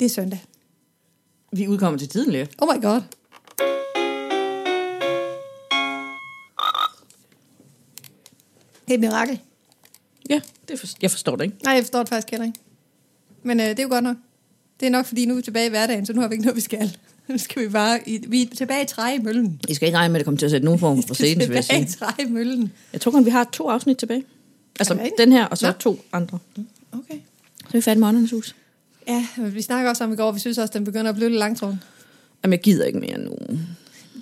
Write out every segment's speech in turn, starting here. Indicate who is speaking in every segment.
Speaker 1: Det er søndag.
Speaker 2: Vi udkommer til tiden lidt.
Speaker 1: Oh my god. Det er et mirakel.
Speaker 2: Ja, det for, jeg forstår det ikke.
Speaker 1: Nej, jeg forstår det faktisk heller ikke. Men øh, det er jo godt nok. Det er nok, fordi nu er vi tilbage i hverdagen, så nu har vi ikke noget, vi skal. Nu skal vi bare... I, vi er tilbage i træmøllen.
Speaker 2: I skal ikke regne med, at det kommer til at sætte nogen form for scenen, vil jeg
Speaker 1: Tilbage i
Speaker 2: sige.
Speaker 1: træmøllen.
Speaker 2: Jeg tror kun, vi har to afsnit tilbage. Altså
Speaker 1: Er det rigtigt?
Speaker 2: den her, og så
Speaker 1: Nå.
Speaker 2: to andre.
Speaker 1: Okay.
Speaker 2: Så er vi færdige med åndernes hus.
Speaker 1: Ja, men vi snakker også om i går, vi synes også, den begynder at blive lidt langtråden.
Speaker 2: Jamen, jeg gider ikke mere nu.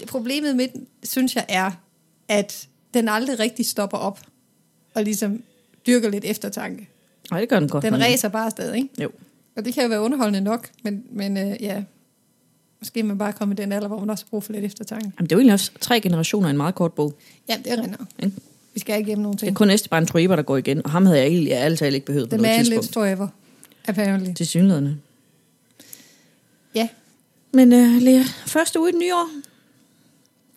Speaker 1: Det- Problemet med den, synes jeg, er, at den aldrig rigtig stopper op og ligesom dyrker lidt eftertanke.
Speaker 2: Nej, det gør den godt.
Speaker 1: Den
Speaker 2: nok.
Speaker 1: ræser bare stadig, ikke?
Speaker 2: Jo.
Speaker 1: Og det kan jo være underholdende nok, men, men øh, ja, måske er man bare kommer i den alder, hvor man også har brug for lidt eftertanke.
Speaker 2: Jamen, det er jo egentlig også tre generationer i en meget kort bog.
Speaker 1: Ja, det er rent nok.
Speaker 2: Ikke?
Speaker 1: Vi skal igennem nogle
Speaker 2: Mm. Det er
Speaker 1: ting.
Speaker 2: kun Esteban Trueba, der går igen, og ham havde jeg egentlig, jeg ærligt talt ikke behøvet på
Speaker 1: The
Speaker 2: noget
Speaker 1: man
Speaker 2: tidspunkt.
Speaker 1: lives forever, apparently.
Speaker 2: Til synlædende.
Speaker 1: Ja,
Speaker 2: Men uh, Lea, første uge i det nye år,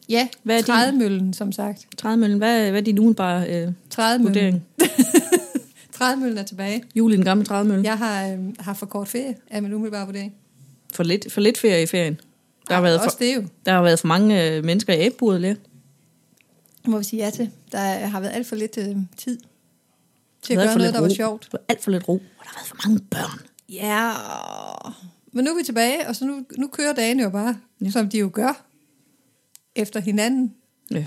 Speaker 1: ja.
Speaker 2: Hvad er din-
Speaker 1: trædemøllen, som sagt.
Speaker 2: Trædemøllen, hvad, hvad er din umiddelbare uh,
Speaker 1: Trædemøllen.
Speaker 2: vurdering?
Speaker 1: Trædemøllen er tilbage.
Speaker 2: Jul i den gamle trædemølle? Ja.
Speaker 1: Jeg har, øh, har for kort ferie, er min umiddelbare vurdering.
Speaker 2: For, lidt, for lidt ferie i ferien. Der har,
Speaker 1: Ej,
Speaker 2: været for,
Speaker 1: Også det jo.
Speaker 2: der har været for mange uh, mennesker i æbburet, Lea.
Speaker 1: må vi sige ja til. Der har været alt for lidt øh, tid til
Speaker 2: Der
Speaker 1: at gøre
Speaker 2: har været for
Speaker 1: noget,
Speaker 2: lidt
Speaker 1: der var
Speaker 2: ro.
Speaker 1: sjovt.
Speaker 2: Der var alt for lidt ro, og der har været for mange børn.
Speaker 1: Ja. Men nu er vi tilbage, og så nu, nu kører dagen jo bare, ja. som de jo gør, efter hinanden.
Speaker 2: Ja.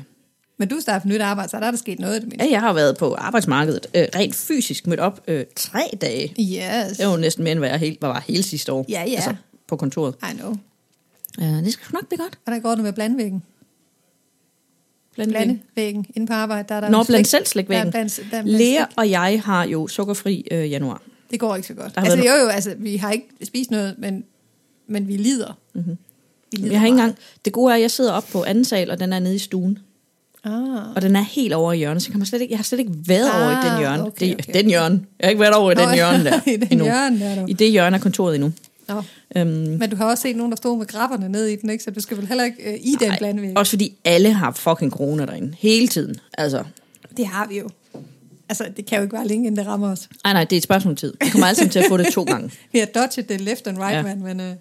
Speaker 1: Men du starter på nyt arbejde, så der er der sket noget af det mindste.
Speaker 2: ja, jeg har været på arbejdsmarkedet øh, rent fysisk mødt op øh, tre dage.
Speaker 1: Yes.
Speaker 2: Det var jo næsten mere, end hvad jeg helt, var, var hele sidste år.
Speaker 1: Ja, ja.
Speaker 2: Altså, på kontoret.
Speaker 1: I know.
Speaker 2: Uh, det skal sgu nok blive godt.
Speaker 1: Og der går det med blandvæggen.
Speaker 2: Blandt
Speaker 1: Blandvæggen inde på arbejde, der er der
Speaker 2: Nå,
Speaker 1: jo
Speaker 2: blandt
Speaker 1: slik.
Speaker 2: selv slikvæggen.
Speaker 1: Der er blandt- der er blandt
Speaker 2: Lea og jeg har jo sukkerfri øh, januar.
Speaker 1: Det går ikke så godt.
Speaker 2: Der har
Speaker 1: Altså,
Speaker 2: været
Speaker 1: jo, jo, altså, vi har ikke spist noget, men, men vi lider. Mm-hmm. Vi lider
Speaker 2: Jeg har ikke
Speaker 1: meget.
Speaker 2: engang... Det gode er, at jeg sidder oppe på anden sal, og den er nede i stuen.
Speaker 1: Ah.
Speaker 2: Og den er helt over i hjørnet, så kan man slet ikke, jeg har slet ikke været ah, over i den
Speaker 1: Ah,
Speaker 2: hjørne.
Speaker 1: okay,
Speaker 2: Det-
Speaker 1: okay.
Speaker 2: Den hjørne. Jeg har ikke været over i
Speaker 1: Nå,
Speaker 2: den hjørne der.
Speaker 1: i den
Speaker 2: endnu.
Speaker 1: hjørne der, du.
Speaker 2: I det hjørne af kontoret endnu.
Speaker 1: Nå.
Speaker 2: Øhm,
Speaker 1: Men du har også set nogen, der stod med grabberne ned i den, ikke? Så du skal vel heller ikke øh, i den
Speaker 2: ej,
Speaker 1: blandvæg.
Speaker 2: også fordi alle har fucking corona derinde. Hele tiden. Altså,
Speaker 1: Det har vi jo. Altså, det kan jo ikke være længe, inden det rammer os.
Speaker 2: nej nej, det er et spørgsmål om tid. Vi kommer altid til at få det to gange.
Speaker 1: Vi har dodget det left and right,
Speaker 2: Ja.
Speaker 1: ja. man, men øh,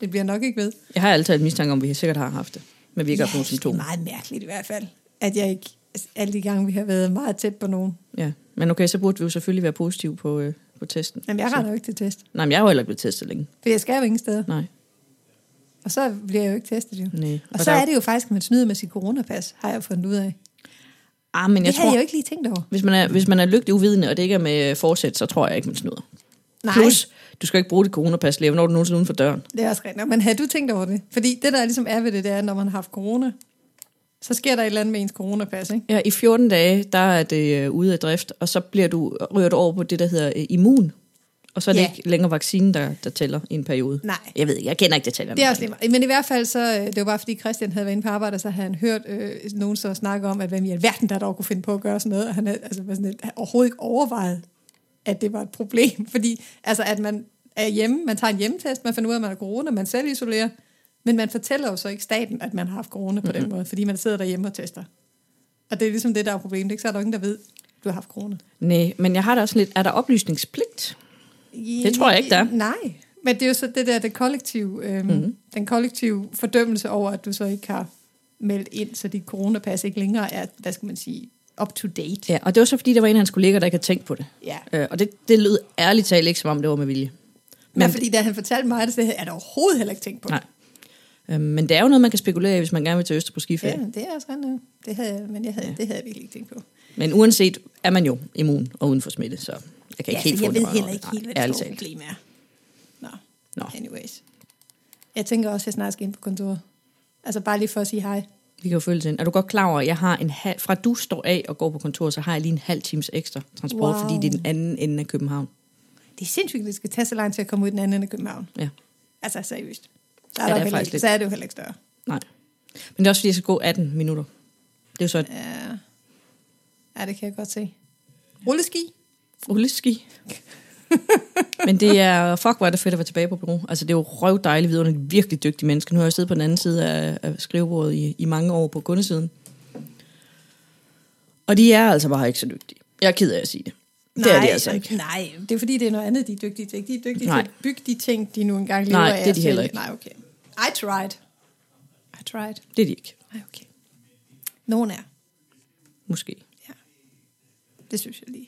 Speaker 1: det bliver nok ikke ved.
Speaker 2: Jeg har altid en mistanke om, at vi sikkert har haft det. Men vi ikke har haft nogen
Speaker 1: det er
Speaker 2: symptomer.
Speaker 1: meget mærkeligt i hvert fald, at jeg ikke... Altså, alle de gange, vi har været meget tæt på nogen.
Speaker 2: Ja. Men okay, så burde vi jo selvfølgelig være positive på, øh, på testen.
Speaker 1: Jamen, jeg render jo ikke til test.
Speaker 2: Nej, men jeg er jo heller ikke blevet testet længe.
Speaker 1: For jeg skal jo ingen steder.
Speaker 2: Nej.
Speaker 1: Og så bliver jeg jo ikke testet, jo.
Speaker 2: Nej.
Speaker 1: Og
Speaker 2: Og
Speaker 1: så
Speaker 2: der-
Speaker 1: er det jo faktisk, at man snyder med sit coronapas, har jeg fundet ud af.
Speaker 2: Ah, men jeg
Speaker 1: Det havde jeg
Speaker 2: tror,
Speaker 1: jo
Speaker 2: jeg
Speaker 1: ikke lige tænkt over.
Speaker 2: hvis man, er, hvis man er lygtig uvidende, og det ikke er med øh, forsæt, så tror jeg ikke, man snyder.
Speaker 1: Nej.
Speaker 2: Plus, du skal ikke bruge dit coronapas, Lea, når du nogensinde er uden for døren.
Speaker 1: Det er også rigtigt. nok. Men havde du tænkt over det? Fordi det, der ligesom er ved det, det er, når man har haft corona, så sker der et eller andet med ens coronapas, ikke?
Speaker 2: Ja, i 14 dage, der er det øh, ude af drift, og så bliver du, ryger du over på det, der hedder øh, immun. Og så er det
Speaker 1: Ja.
Speaker 2: ja. ikke længere vaccinen, der, der tæller i en periode.
Speaker 1: Nej.
Speaker 2: Jeg ved ikke, jeg kender ikke detaljerne.
Speaker 1: Det er også lige meget. Men i hvert fald så, øh, det var bare fordi Christian havde været inde på arbejde, og så havde han hørt øh, nogen så snakke om, at hvem i alverden der dog kunne finde på at gøre sådan noget, og han havde, altså, var sådan lidt, han overhovedet ikke overvejet, at det var et problem. Fordi altså, at man er hjemme, man tager en hjemmetest, man finder ud af, at man har corona, man selv isolerer, men man fortæller jo så ikke staten, at man har haft corona på mm-hmm. den måde, fordi man sidder derhjemme og tester. Og det er ligesom det, der er problemet. Det er ikke så, er der jo ingen, der ved, du har haft corona.
Speaker 2: Nej, men jeg har da også lidt, er der oplysningspligt?
Speaker 1: Det
Speaker 2: tror jeg ikke, der er. Mhm.
Speaker 1: Nej, men det er jo så det der, det kollektive, øhm, mm-hmm. den kollektive fordømmelse over, at du så ikke har meldt ind, så dit coronapas ikke længere er, hvad skal man sige, up to date.
Speaker 2: Ja, og det var så fordi, der var en af hans kolleger, der ikke havde tænkt på det.
Speaker 1: Ja.
Speaker 2: Øh, og det, det lød ærligt talt ikke, som om det var med vilje.
Speaker 1: Men ja, fordi da han fortalte mig det, så havde jeg da overhovedet heller ikke tænkt på.
Speaker 2: Nej. Øh, men det er jo noget, man kan spekulere i, hvis man gerne vil til Øster på skiferie.
Speaker 1: Ja, det er også rent. øh, Det havde, jeg- men jeg havde, ja. det havde jeg virkelig ikke tænkt på.
Speaker 2: Men uanset er man jo immun og uden for smitte, så jeg kan ikke helt
Speaker 1: så jeg
Speaker 2: få det
Speaker 1: ved
Speaker 2: røven
Speaker 1: heller
Speaker 2: over.
Speaker 1: ikke helt, hvad det
Speaker 2: Nej, ærligt
Speaker 1: store
Speaker 2: talt.
Speaker 1: problem er. Nå,
Speaker 2: Nå.
Speaker 1: no. anyways. Jeg tænker også, at jeg snart skal ind på kontoret. Altså bare lige for at sige hej.
Speaker 2: Vi kan jo følge til. Er du godt klar over, at jeg har en halv, fra du står af og går på kontor, så har jeg lige en halv times ekstra transport,
Speaker 1: Wow.
Speaker 2: wow. fordi det er den anden ende af København.
Speaker 1: Det er sindssygt, at det skal tage så lang tid at komme ud den anden ende af København.
Speaker 2: Ja,
Speaker 1: Altså seriøst. Så er, ja,
Speaker 2: Ja, det
Speaker 1: der
Speaker 2: er
Speaker 1: heller,
Speaker 2: faktisk
Speaker 1: ikke,
Speaker 2: lidt-
Speaker 1: så er det jo heller ikke større.
Speaker 2: nej. Men det er også, fordi jeg skal gå 18 minutter. Det er jo så et
Speaker 1: Ja. ja, det kan jeg godt se. Rulleski?
Speaker 2: rulleski. Men det er, fuck hvor er det fedt at være tilbage på bureau. Altså det er jo røv dejligt vidunderligt, virkelig dygtige mennesker. Nu har jeg siddet på den anden side af, af skrivebordet i, i mange år på kundesiden. Og de er altså bare ikke så dygtige. Jeg er ked af at sige det. Det er de altså ikke.
Speaker 1: Nej, det er fordi, det er noget andet, de er dygtige til. De er dygtige
Speaker 2: Nej.
Speaker 1: til at bygge de ting, de nu engang lever
Speaker 2: Nej,
Speaker 1: af.
Speaker 2: det er de
Speaker 1: at
Speaker 2: heller
Speaker 1: sælge.
Speaker 2: ikke.
Speaker 1: Nej, okay. I tried. I tried.
Speaker 2: Det er de ikke,
Speaker 1: Nej, okay. Nogen er.
Speaker 2: måske.
Speaker 1: Ja. Det synes jeg lige.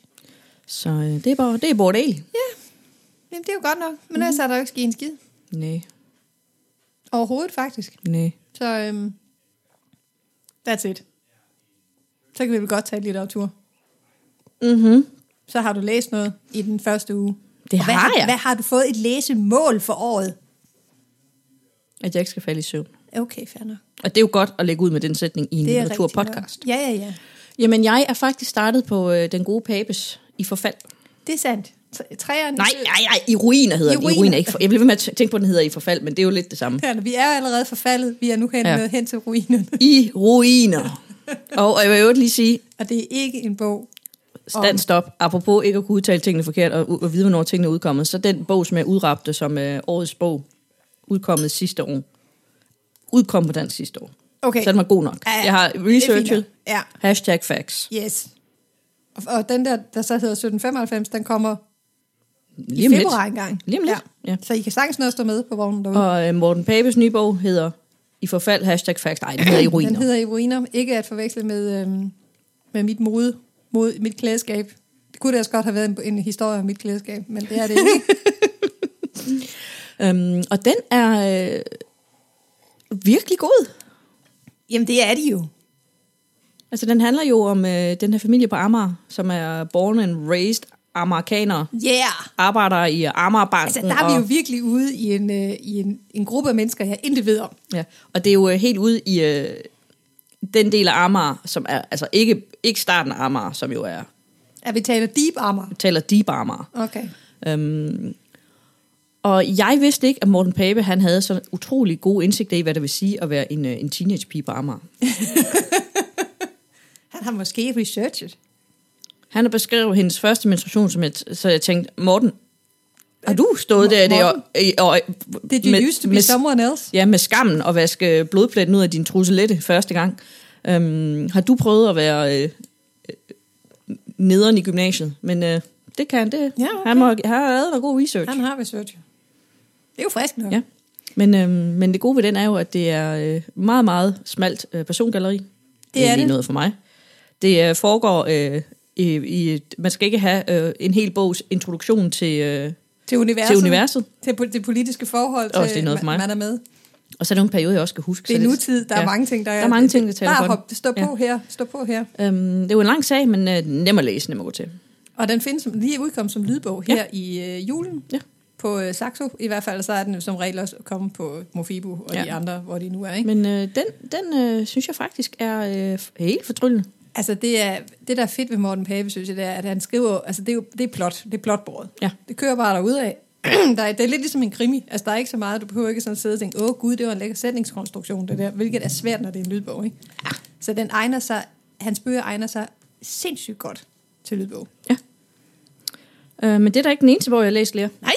Speaker 2: Så øh, det er bare det er bordel.
Speaker 1: Ja, Jamen, det er jo godt nok. Men
Speaker 2: Mm.
Speaker 1: ellers er der jo ikke sket en skid.
Speaker 2: Nej,
Speaker 1: Overhovedet, faktisk.
Speaker 2: nej.
Speaker 1: Så øhm, that's it. Så kan vi vel godt tage litteratur.
Speaker 2: Mhm.
Speaker 1: Så har du læst noget i den første uge.
Speaker 2: Det
Speaker 1: Og hvad
Speaker 2: har jeg.
Speaker 1: Hvad har du fået et læsemål for året?
Speaker 2: At jeg ikke skal falde i søvn.
Speaker 1: Okay, fair nok.
Speaker 2: Og det er jo godt at lægge ud med den sætning i en
Speaker 1: Det er
Speaker 2: litteraturpodcast.
Speaker 1: rigtigt nok. Ja, ja, ja.
Speaker 2: Jamen, jeg er faktisk startet på øh, Den Gode Papes i forfald.
Speaker 1: Det er sandt. T- Træerne...
Speaker 2: Nej, nej, nej, i ruiner hedder
Speaker 1: I
Speaker 2: den. I
Speaker 1: ruiner.
Speaker 2: ruiner. Ikke for, jeg blev ved med at tæ- tænke på, at den hedder i forfald, men det er jo lidt det samme.
Speaker 1: Træerne. Vi er jo allerede forfaldet. Vi er nu hen,
Speaker 2: Ja.
Speaker 1: ja. hen til ruinerne.
Speaker 2: I ruiner. Og, og jeg vil jo lige sige,
Speaker 1: Og det er ikke en bog.
Speaker 2: stand stop, apropos ikke at kunne udtale tingene forkert og, u- og vide, hvornår tingene er udkommet, så den bog, som jeg udrapte som øh, årets bog, udkommet sidste år, udkom på dansk sidste år.
Speaker 1: Okay.
Speaker 2: Så den var god nok.
Speaker 1: Ja, ja.
Speaker 2: Jeg har
Speaker 1: Det er fint
Speaker 2: researchet.
Speaker 1: nok. Ja.
Speaker 2: Hashtag facts.
Speaker 1: Yes. Og, og den der, der så hedder 1795, den kommer
Speaker 2: Lige
Speaker 1: i
Speaker 2: om lidt.
Speaker 1: februar engang.
Speaker 2: Lige om lidt,
Speaker 1: Ja.
Speaker 2: ja.
Speaker 1: Så I kan sagtens nå at stå med på vognen derude.
Speaker 2: Og øh, Morten Papes nye bog hedder I forfald, hashtag facts. Nej, den hedder I ruiner.
Speaker 1: Den hedder i ruiner. Ikke at forveksle med, øhm, med mit mode, mod mit klædeskab. Det kunne da også godt have været en, en historie om mit klædeskab, men det er det ikke.
Speaker 2: Øhm, og den er øh, virkelig god.
Speaker 1: Jamen, det er de jo.
Speaker 2: Altså, den handler jo om øh, den her familie på Amager, som er born and raised amerikanere,
Speaker 1: Yeah!
Speaker 2: arbejder i
Speaker 1: Altså,
Speaker 2: Amagerbanken.
Speaker 1: der er vi jo
Speaker 2: Og,
Speaker 1: virkelig ude i en, øh, i en, en gruppe af mennesker, jeg intet ved om.
Speaker 2: ja, og det er jo øh, helt ude i øh, den del af Amager, som er, altså ikke, ikke starten af Amager, som jo er,
Speaker 1: At vi taler deep armor.
Speaker 2: taler deep Amager.
Speaker 1: Okay.
Speaker 2: Øhm, og jeg vidste ikke, at Morten Pape, han havde så utrolig god indsigt i, hvad det vil sige at være en, øh, en teenagepige på Amager.
Speaker 1: Han har måske researchet.
Speaker 2: Han beskrev hendes første menstruation, som et, så jeg tænkte, Morten, har du stået der i det, og, og, og,
Speaker 1: Did you used to be
Speaker 2: med,
Speaker 1: someone else?
Speaker 2: ja, med skammen og vaske blodpletten ud af din truselette første gang? Øhm, har du prøvet at være øh, øh, nederen i gymnasiet? Men øh, det kan han, det.
Speaker 1: Ja, okay.
Speaker 2: Han, må, han har lavet noget god research.
Speaker 1: Han har researchet. Det er jo frisk nok.
Speaker 2: Ja. Men, øhm, men det gode ved den er jo, at det er øh, meget, meget smalt øh, persongalleri. Det,
Speaker 1: er
Speaker 2: egentlig
Speaker 1: det.
Speaker 2: noget for mig. Det øh, foregår øh, i, i... et- Man skal ikke have øh, en hel bogs introduktion til, øh,
Speaker 1: Til universet.
Speaker 2: til universet.
Speaker 1: Til po- det politiske forhold,
Speaker 2: Også
Speaker 1: til,
Speaker 2: det er noget for
Speaker 1: man,
Speaker 2: mig.
Speaker 1: man er med.
Speaker 2: Og så er der nogle perioder, jeg også skal huske.
Speaker 1: Det er
Speaker 2: så
Speaker 1: nutid, der er
Speaker 2: ja.
Speaker 1: mange ting, der
Speaker 2: Der er mange ting, der taler
Speaker 1: Bare
Speaker 2: for
Speaker 1: hop, stå på her, stå på her.
Speaker 2: Øhm, det er jo en lang sag, men øh, nem at læse, nem at gå til.
Speaker 1: Og den findes som, lige udkommet som lydbog her i øh, julen.
Speaker 2: Ja.
Speaker 1: På øh, Saxo i hvert fald, så er den jo som regel også kommet på Mofibo og
Speaker 2: Ja.
Speaker 1: de andre, hvor de nu er. Ikke?
Speaker 2: Men øh, den, den øh, synes jeg faktisk er øh, helt fortryllende.
Speaker 1: Altså det, er, det der er fedt ved Morten Pape, synes jeg, det er, at han skriver, altså det er jo det er plot, det er plotbordet.
Speaker 2: Ja.
Speaker 1: Det kører bare derude af. der er, det er lidt ligesom en krimi, altså der er ikke så meget, du behøver ikke sådan sidde og tænke, åh gud, det var en lækker sætningskonstruktion, det der, hvilket er svært, når det er en lydbog, ikke? Ja. Så den egner sig, hans bøger egner sig sindssygt godt til lydbog.
Speaker 2: Øh, men det er da ikke den eneste, hvor jeg har læst lære.
Speaker 1: Nej!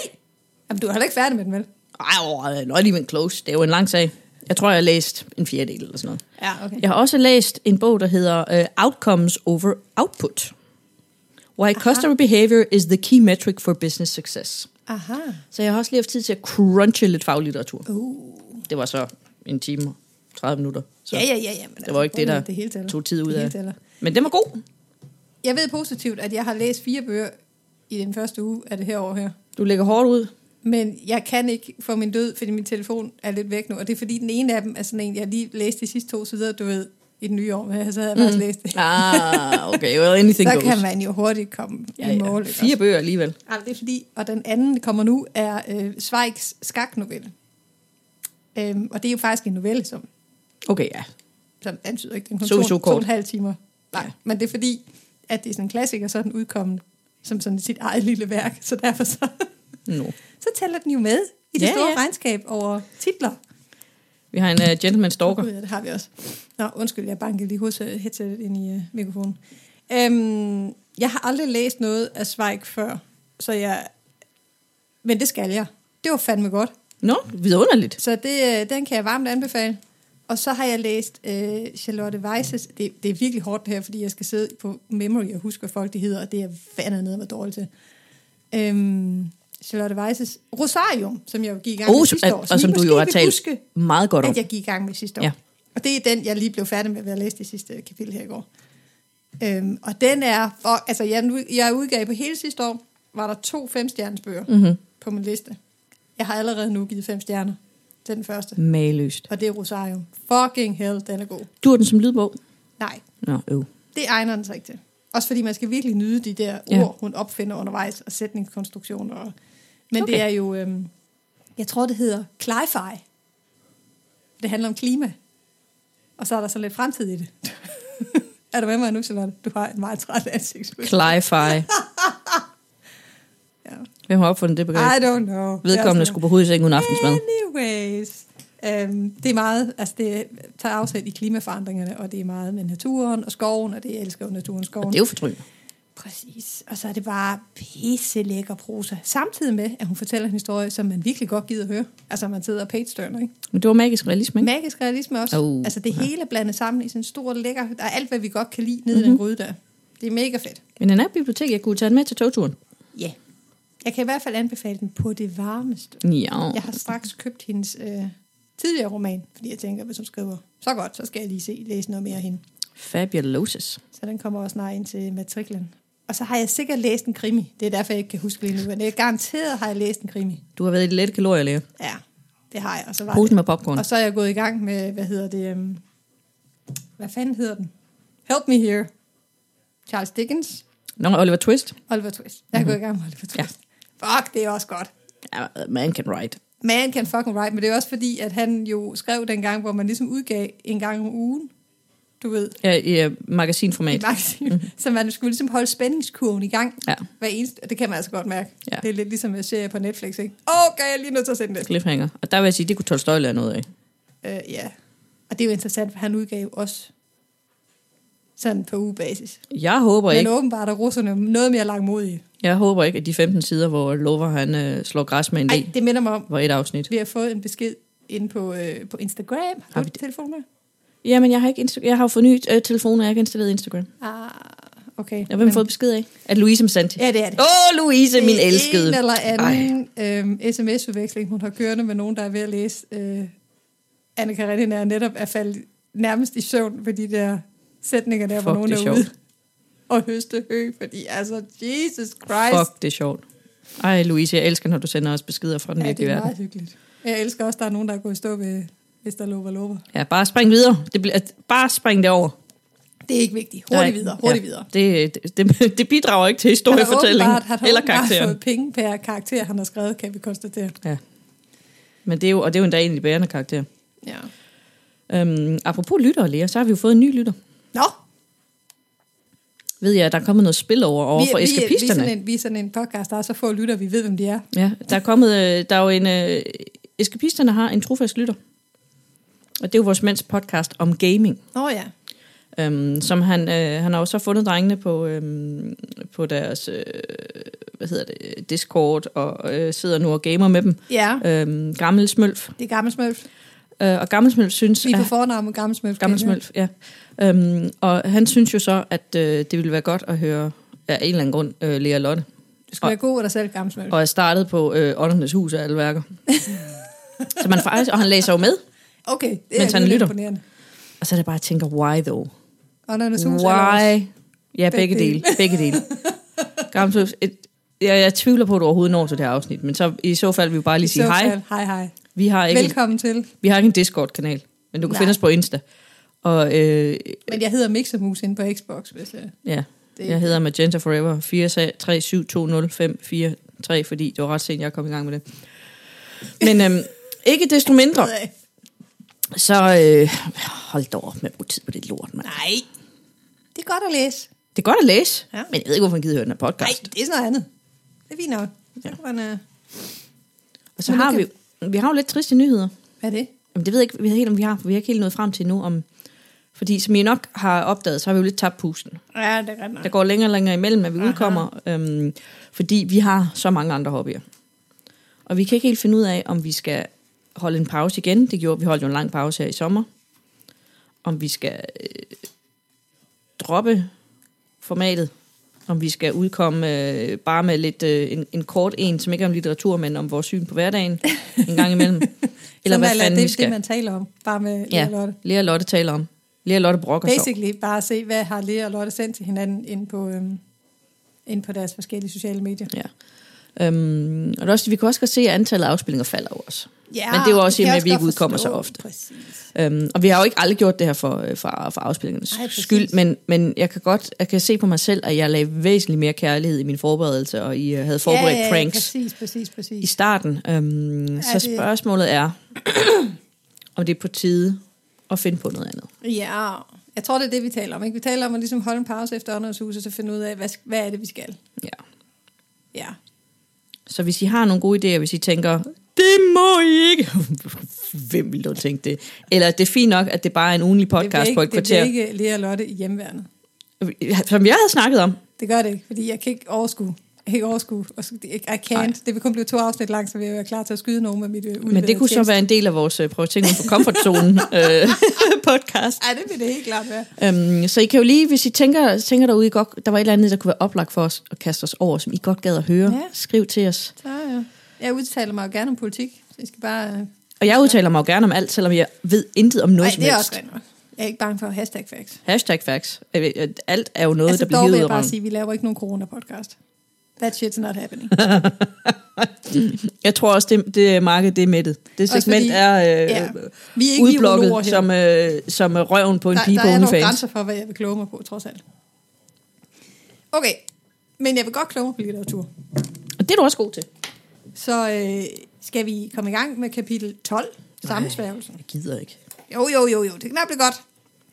Speaker 1: Jamen, du er heller ikke færdig med den, vel?
Speaker 2: Ej, oh, not even close. Det er jo en lang sag. Jeg tror, jeg har læst en fjerdedel eller sådan noget.
Speaker 1: Ja, okay.
Speaker 2: Jeg har også læst en bog, der hedder uh, Outcomes Over Output. Why Customer Behavior is the Key Metric for Business Success.
Speaker 1: Aha.
Speaker 2: Så jeg har også lige haft tid til at crunche lidt faglitteratur.
Speaker 1: Uh.
Speaker 2: Det var så en time og 30 minutter. Så
Speaker 1: Ja, ja, ja, ja. Men altså,
Speaker 2: det var ikke det, der
Speaker 1: det hele tæller.
Speaker 2: tog tid ud
Speaker 1: det hele
Speaker 2: af.
Speaker 1: tæller.
Speaker 2: Men den var god.
Speaker 1: Jeg ved positivt, at jeg har læst fire bøger i den første uge af det her år her.
Speaker 2: Du lægger hårdt ud.
Speaker 1: Men jeg kan ikke få min død, fordi min telefon er lidt væk nu. Og det er fordi, den ene af dem er sådan en, jeg lige læste de sidste to sider, du ved, i den nye år, men så havde jeg
Speaker 2: Mm.
Speaker 1: faktisk læst det.
Speaker 2: Ah, okay. Well, anything
Speaker 1: Så
Speaker 2: goes.
Speaker 1: kan man jo hurtigt komme ja, i mål. ikke
Speaker 2: Fire bøger alligevel.
Speaker 1: også? Ej, det er fordi, og den anden, der kommer nu, er øh, Zweigs skaknovelle. Øhm, og det er jo faktisk en novelle, som,
Speaker 2: Okay, ja.
Speaker 1: som antyder ikke, den kun
Speaker 2: Så
Speaker 1: to,
Speaker 2: vi så
Speaker 1: to,
Speaker 2: kort.
Speaker 1: og en halv timer. Nej,
Speaker 2: Ja.
Speaker 1: men det er fordi, at det er sådan en klassiker, så er den udkommet som sådan sit eget lille værk, så derfor så,
Speaker 2: No.
Speaker 1: så tæller den jo med i det
Speaker 2: Ja,
Speaker 1: ja, store
Speaker 2: ja.
Speaker 1: ja. regnskab over titler.
Speaker 2: Vi har en uh, gentleman stalker.
Speaker 1: Gud, ja, det har vi også. Nå, undskyld, jeg bankede lige hos øh, headsetet ind i øh, mikrofonen. Øhm, jeg har aldrig læst noget af Zweig før, så jeg... Men det skal jeg. Det var fandme godt.
Speaker 2: Nå, vidunderligt.
Speaker 1: Så det, øh, den kan jeg varmt anbefale. Og så har jeg læst øh, Charlotte Weisses, det, det er virkelig hårdt det her, fordi jeg skal sidde på memory og huske, hvad folk de hedder, og det er jeg fandme nede med dårligt til. Øhm, Charlotte Weisses Rosarium, som jeg jo gik i gang med
Speaker 2: Oh,
Speaker 1: sidste år.
Speaker 2: og som
Speaker 1: I
Speaker 2: du
Speaker 1: måske
Speaker 2: jo har
Speaker 1: vil
Speaker 2: talt
Speaker 1: huske,
Speaker 2: meget godt om.
Speaker 1: at jeg gik i gang med sidste år.
Speaker 2: Ja.
Speaker 1: Ja. Og det er den, jeg lige blev færdig med ved at læse det sidste kapitel her i går. Øhm, og den er, for, altså jeg, nu- jeg udgav på hele sidste år, var der to femstjerners bøger mm-hmm. på min liste. Jeg har allerede nu givet fem stjerner til den første,
Speaker 2: Mageløst.
Speaker 1: og det er Rosarium. Fucking hell, den er god.
Speaker 2: Du har den som lydbog?
Speaker 1: Nej,
Speaker 2: Nå, øv.
Speaker 1: det egner den sig ikke til. Også fordi man skal virkelig nyde de der
Speaker 2: Ja.
Speaker 1: ja. ord, hun opfinder undervejs, og sætningskonstruktioner. Og, men
Speaker 2: Okay.
Speaker 1: okay. det er jo, øhm, jeg tror det hedder Clify. Det handler om klima. Og så er der så lidt fremtid i det. er du med mig nu, Charlotte? Du har en meget træt ansigt.
Speaker 2: Cli-fi.
Speaker 1: Ja.
Speaker 2: Hvem har opfundet det begreb?
Speaker 1: I don't know.
Speaker 2: Vedkommende skulle på hovedsengen uden aftensmad.
Speaker 1: Anyways. Øhm, det er meget, altså det tager afsæt i klimaforandringerne, og det er meget med naturen og skoven, og det jeg elsker jo naturen og
Speaker 2: Og
Speaker 1: skoven.
Speaker 2: det er jo fortryllende.
Speaker 1: Præcis. Og så er det bare pisse lækker prosa. Samtidig med, at hun fortæller en historie, som man virkelig godt gider at høre. Altså, man sidder og page ikke?
Speaker 2: Men det var magisk realisme, ikke?
Speaker 1: Magisk realisme også.
Speaker 2: Oh,
Speaker 1: altså, det hele blandet sammen i sådan en stor lækker... Der er alt, hvad vi godt kan lide nede mm-hmm. i den gryde der. Det er mega fedt.
Speaker 2: Men den er i biblioteket, jeg kunne tage den med til togturen.
Speaker 1: Ja. Mm. Yeah. Jeg kan i hvert fald anbefale den på det varmeste.
Speaker 2: Ja.
Speaker 1: Jeg har straks købt hendes øh, tidligere roman, fordi jeg tænker, hvis hun skriver så godt, så skal jeg lige se, læse noget mere af hende.
Speaker 2: Fabulosus.
Speaker 1: Så den kommer også snart ind til matriklen. Og så har jeg sikkert læst en krimi. Det er derfor, jeg ikke kan huske lige nu. Men jeg garanteret har jeg læst en krimi.
Speaker 2: Du har været i de lette kalorier, Lea.
Speaker 1: Ja, det har jeg. Og så, var
Speaker 2: Posen
Speaker 1: det.
Speaker 2: med popcorn.
Speaker 1: Og så er jeg gået i gang med, hvad hedder det? Um, hvad fanden hedder den? Help Me Here. Charles Dickens.
Speaker 2: Nå, Oliver Twist.
Speaker 1: Oliver Twist. Jeg er mm-hmm. gået i gang med Oliver Twist.
Speaker 2: Ja.
Speaker 1: Ja. Fuck, det er også godt.
Speaker 2: Ja, man can write.
Speaker 1: Man can fucking write, men det er også fordi, at han jo skrev den gang, hvor man ligesom udgav en gang om ugen, du ved,
Speaker 2: Ja, i uh,
Speaker 1: i
Speaker 2: magasinformat.
Speaker 1: magasin. Mm. Så man skulle ligesom holde spændingskurven i gang.
Speaker 2: Mhm. Ja.
Speaker 1: Hver eneste, og det kan man altså godt mærke.
Speaker 2: Ja.
Speaker 1: Det er lidt ligesom en serie på Netflix, ikke? Okay, jeg er lige nødt til at se den der.
Speaker 2: Cliffhanger. Og der vil jeg sige, det kunne Tolstoy lære noget af.
Speaker 1: Øh, ja. Og det er jo interessant, for han udgav også sådan på ugebasis.
Speaker 2: Jeg håber
Speaker 1: Men
Speaker 2: ikke,
Speaker 1: åbenbart er russerne noget mere langmodige.
Speaker 2: jeg håber ikke, at de 15 sider, hvor Lover han øh, slår græs med en
Speaker 1: Ej,
Speaker 2: le,
Speaker 1: det minder mig om,
Speaker 2: var et afsnit.
Speaker 1: vi har fået en besked inde på, øh, på Instagram. Har,
Speaker 2: Har
Speaker 1: har
Speaker 2: vi
Speaker 1: du telefon med?
Speaker 2: Jamen, jeg har, ikke Insta- jeg har jo fået ny øh, telefon, og jeg har ikke installeret Instagram.
Speaker 1: Ah, okay.
Speaker 2: Jeg har hvem fået besked af? At Louise Santi.
Speaker 1: Ja, det er det.
Speaker 2: Åh, oh, Louise, min
Speaker 1: Det er
Speaker 2: elskede.
Speaker 1: En eller
Speaker 2: Ej,
Speaker 1: anden øhm, sms-udveksling, hun har kørende med nogen, der er ved at læse. Øh, anne Karenina er netop er faldet nærmest i søvn ved de der sætninger der, hvor
Speaker 2: Fuck,
Speaker 1: nogen
Speaker 2: det er
Speaker 1: er ude
Speaker 2: sjovt.
Speaker 1: og høste hø, fordi altså, Jesus Christ.
Speaker 2: fuck, det er sjovt. Ej, Louise, jeg elsker, når du sender os beskeder fra den
Speaker 1: ja,
Speaker 2: virkelige
Speaker 1: det er
Speaker 2: verden.
Speaker 1: meget hyggeligt. Jeg elsker også, at der er nogen, der er gået i stå ved, hvis der lover lover.
Speaker 2: Ja, bare spring videre. Det bliver, at- bare spring det over.
Speaker 1: Det er ikke vigtigt. Hurtigt
Speaker 2: Nej,
Speaker 1: videre, hurtigt
Speaker 2: ja.
Speaker 1: videre.
Speaker 2: Det, det- det, det bidrager ikke til
Speaker 1: Han har
Speaker 2: historiefortællingen
Speaker 1: åbenbart- han har
Speaker 2: eller
Speaker 1: åbenbart
Speaker 2: karakteren.
Speaker 1: fået penge per karakter, han har skrevet, kan vi konstatere.
Speaker 2: Ja. Men det er jo, og det er jo endda en af de bærende karakterer.
Speaker 1: Ja.
Speaker 2: Øhm, apropos lyttere, Lea, så har vi jo fået en ny lytter.
Speaker 1: Nå,
Speaker 2: Ved jeg, at der er kommet noget spil over, over for
Speaker 1: vi, vi, vi, er
Speaker 2: eskapisterne.
Speaker 1: sådan en, vi er sådan en podcast, der er så få lytter, vi ved, hvem de er.
Speaker 2: Ja, der er kommet, øh, der er jo en, øh, eskapisterne har en trofast lytter. Og det er jo vores mænds podcast om gaming.
Speaker 1: Nå oh, ja.
Speaker 2: Øhm, som han, øh, han har jo så fundet drengene på, øhm, på deres øh, hvad hedder det, Discord, og øh, sidder nu og gamer med dem.
Speaker 1: Ja,
Speaker 2: Øhm, gammel Smølf.
Speaker 1: det er gammel smølf.
Speaker 2: Øh, og Gammel Smølf synes...
Speaker 1: Vi er
Speaker 2: at-
Speaker 1: på fornavn med gammel smølf.
Speaker 2: Gammel
Speaker 1: kan jeg høre.
Speaker 2: Smølf, ja. Øhm, og han synes jo så, at øh, det ville være godt at høre af en eller anden grund øh, Lea Lotte.
Speaker 1: Du skal være god ved dig selv, gammel smølf.
Speaker 2: Og jeg startede på øh, Åndernes Hus af alle værker. så man faktisk, og han læser jo med.
Speaker 1: Okay, det
Speaker 2: Mens
Speaker 1: er
Speaker 2: han
Speaker 1: lidt
Speaker 2: lytter.
Speaker 1: imponerende.
Speaker 2: Og så er det bare, at jeg tænker, why though?
Speaker 1: Åndernes hus er
Speaker 2: Why? Ja,
Speaker 1: Begge
Speaker 2: begge dele. Begge dele. Gammel Smølf, et, jeg, jeg tvivler på, at du overhovedet når til det her afsnit, men så i så fald vil vi bare lige sige hej.
Speaker 1: Hej, hej.
Speaker 2: Vi har ikke, en,
Speaker 1: Velkommen til.
Speaker 2: vi har ikke en Discord-kanal, men du kan
Speaker 1: Nej.
Speaker 2: finde os på Insta. Og øh,
Speaker 1: Men jeg hedder Mixermus inde på Xbox, hvis jeg...
Speaker 2: Ja, det
Speaker 1: Det-
Speaker 2: jeg hedder Magenta Forever 4372053, fordi det var ret sent, jeg kom i gang med det. Men øhm, ikke desto mindre, så øh, hold da op med at bruge tid på det lort, mand.
Speaker 1: Nej. Det er godt at læse.
Speaker 2: Det er godt at læse, ja.
Speaker 1: Ja.
Speaker 2: men jeg ved ikke, hvorfor man gider høre den her
Speaker 1: Nej,
Speaker 2: podcast.
Speaker 1: det er sådan noget andet. Det er fint nok. Ja. Men, uh,
Speaker 2: Og så
Speaker 1: Men
Speaker 2: har
Speaker 1: du
Speaker 2: vi, vi har jo lidt triste nyheder.
Speaker 1: hvad er det?
Speaker 2: Jamen, det ved jeg ikke, vi har helt, om vi har, for vi har ikke helt nået frem til nu om... Fordi som I nok har opdaget, så har vi jo lidt tabt pusten.
Speaker 1: Ja, det er
Speaker 2: Der går længere og længere imellem, at vi udkommer, øhm, fordi vi har så mange andre hobbyer. Og vi kan ikke helt finde ud af, om vi skal holde en pause igen. Det gjorde vi holdt jo en lang pause her i sommer. om vi skal øh, droppe formatet, om vi skal udkomme øh, bare med lidt øh, en, en kort en, som ikke er om litteratur, men om vores syn på hverdagen en gang imellem. Eller hvad fanden
Speaker 1: det,
Speaker 2: vi skal.
Speaker 1: det, man taler om, bare med ja.
Speaker 2: ja,
Speaker 1: Lea og Lotte.
Speaker 2: Lea og Lotte taler om. Lea og Lotte brokker sig.
Speaker 1: Basically bare se, hvad har Lea og Lotte sendt til hinanden ind på, øhm, ind på deres forskellige sociale medier.
Speaker 2: over. Ja. Øhm, og det er også, vi kan også godt se, at antallet af afspillinger falder jo også. Men det er jo også
Speaker 1: kan
Speaker 2: i og med,
Speaker 1: jeg
Speaker 2: at vi ikke
Speaker 1: godt
Speaker 2: udkommer så
Speaker 1: forstå.
Speaker 2: ofte.
Speaker 1: Præcis.
Speaker 2: Øhm, og vi har jo ikke aldrig gjort det her for, øh, for, for afspillingernes
Speaker 1: Nej, præcis.
Speaker 2: skyld, men, men jeg kan godt jeg kan se på mig selv, at jeg lagde væsentligt mere kærlighed i min forberedelse, og I øh, havde forberedt
Speaker 1: ja, ja,
Speaker 2: pranks
Speaker 1: Præcis, præcis, præcis.
Speaker 2: i starten. Øhm, så
Speaker 1: det-
Speaker 2: spørgsmålet er, om det er på tide at finde på noget andet.
Speaker 1: Ja, jeg tror, det er det, vi taler om. Ikke? Vi taler om at ligesom holde en pause efter ånderhuset, og så finde ud af, hvad, hvad er det, vi skal.
Speaker 2: Ja.
Speaker 1: Ja.
Speaker 2: Så hvis I har nogle gode idéer, hvis I tænker, det må I ikke. Hvem ville dog tænke det? Eller det er fint nok, at det bare er en ugenlig
Speaker 1: det bliver
Speaker 2: podcast
Speaker 1: ikke,
Speaker 2: på et
Speaker 1: det bliver
Speaker 2: kvarter,
Speaker 1: ikke Lea og Lotte i hjemværnet.
Speaker 2: som jeg havde snakket om.
Speaker 1: Det gør det ikke, fordi jeg kan ikke overskue. Jeg kan ikke overskue. Og så- I can't.
Speaker 2: Nej.
Speaker 1: Det vil kun blive to afsnit langt, så vil jeg være klar til at skyde nogen med mit øh,
Speaker 2: Men det kunne så være en del af vores øh, prøv at tænke uden for comfortzonen øh, podcast.
Speaker 1: Nej, det vil det helt klart være.
Speaker 2: Um, så I kan jo lige, hvis I tænker, tænker derude, I godt, der var et eller andet, der kunne være oplagt for os at kaste os over, som I godt gad at høre,
Speaker 1: Ja.
Speaker 2: ja. skriv til os.
Speaker 1: Så ja. Jeg udtaler mig jo gerne om politik, så I skal bare... øh,
Speaker 2: Og jeg udtaler mig jo gerne om alt, selvom jeg ved intet om noget
Speaker 1: Nej,
Speaker 2: som
Speaker 1: det er
Speaker 2: helst.
Speaker 1: også rent nok. Jeg er ikke bange for hashtag facts.
Speaker 2: Hashtag facts. Øh, øh, Alt er jo noget,
Speaker 1: altså,
Speaker 2: der bliver
Speaker 1: dog vil
Speaker 2: hivet
Speaker 1: jeg bare
Speaker 2: over.
Speaker 1: sige, at vi laver ikke nogen corona-podcast. That shit's not happening.
Speaker 2: Jeg tror også, det, det marked det er mættet. Det
Speaker 1: Også
Speaker 2: segment
Speaker 1: fordi-
Speaker 2: er øh,
Speaker 1: ja.
Speaker 2: ja.
Speaker 1: Vi er ikke virologer
Speaker 2: udblokket
Speaker 1: her.
Speaker 2: som, øh, som øh, røven på en
Speaker 1: der,
Speaker 2: pige
Speaker 1: der
Speaker 2: på
Speaker 1: er nogle
Speaker 2: OnlyFans.
Speaker 1: grænser for, hvad jeg vil kloge mig på, trods alt. Okay, men jeg vil godt kloge mig på litteratur.
Speaker 2: Og det er du også god til.
Speaker 1: Så øh, skal vi komme i gang med kapitel 12, sammensværgelsen.
Speaker 2: Jeg gider ikke.
Speaker 1: Jo, jo, jo, jo, det kan blive godt.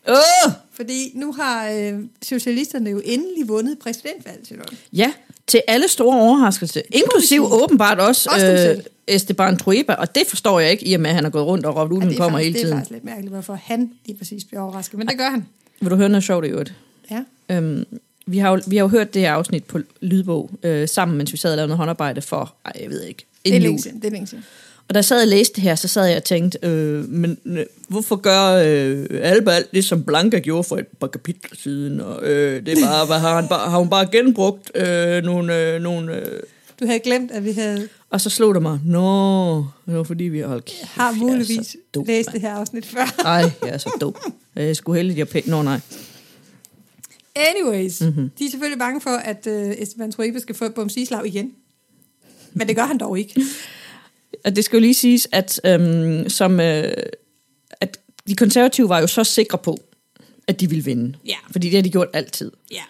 Speaker 2: Åh!
Speaker 1: Fordi nu har øh, socialisterne jo endelig vundet præsidentvalget. Til noget.
Speaker 2: Ja, til alle store overraskelser. Inklusiv
Speaker 1: Inklusiv.
Speaker 2: åbenbart også,
Speaker 1: Også dem selv.
Speaker 2: øh, Esteban Trueba. Og det forstår jeg ikke, i og med at han har gået rundt og råbt,
Speaker 1: Og
Speaker 2: uden
Speaker 1: det, er
Speaker 2: kommer
Speaker 1: faktisk,
Speaker 2: hele
Speaker 1: det er
Speaker 2: tiden.
Speaker 1: faktisk lidt mærkeligt, hvorfor han lige præcis bliver overrasket. Men det gør han.
Speaker 2: Vil du høre noget sjovt i øvrigt?
Speaker 1: Ja.
Speaker 2: Øhm, vi, har jo, vi har jo hørt det her afsnit på lydbog øh, sammen, mens vi sad og lavede noget håndarbejde for, ej, jeg ved ikke,
Speaker 1: Det er
Speaker 2: en
Speaker 1: længe
Speaker 2: jul.
Speaker 1: siden. Det er længe siden.
Speaker 2: Og da jeg sad og læste det her, så sad jeg og tænkte, øh, men øh, hvorfor gør øh, Alba alt det, som Blanca gjorde for et par kapitler siden? Og, øh, det er bare, hvad har, han bare, har hun bare genbrugt øh, nogle... Øh, nogle øh.
Speaker 1: Du havde glemt, at vi havde,
Speaker 2: Og så slog det mig, nå, det var fordi vi holdt kæft,
Speaker 1: har
Speaker 2: jeg er
Speaker 1: muligvis
Speaker 2: så dum,
Speaker 1: læst
Speaker 2: mand.
Speaker 1: det her afsnit før.
Speaker 2: Ej, jeg er så dum. Jeg skulle heldigt, jeg pænt. Nå, nej.
Speaker 1: Anyways, mm-hmm. de er selvfølgelig bange for, at øh, Esteban Trueba skal få Bumsislav igen. Men det gør han dog ikke.
Speaker 2: Og det skal jo lige siges, at, øhm, som, øh, at de konservative var jo så sikre på, at de ville vinde.
Speaker 1: Ja.
Speaker 2: Fordi det har de gjort altid.
Speaker 1: Ja.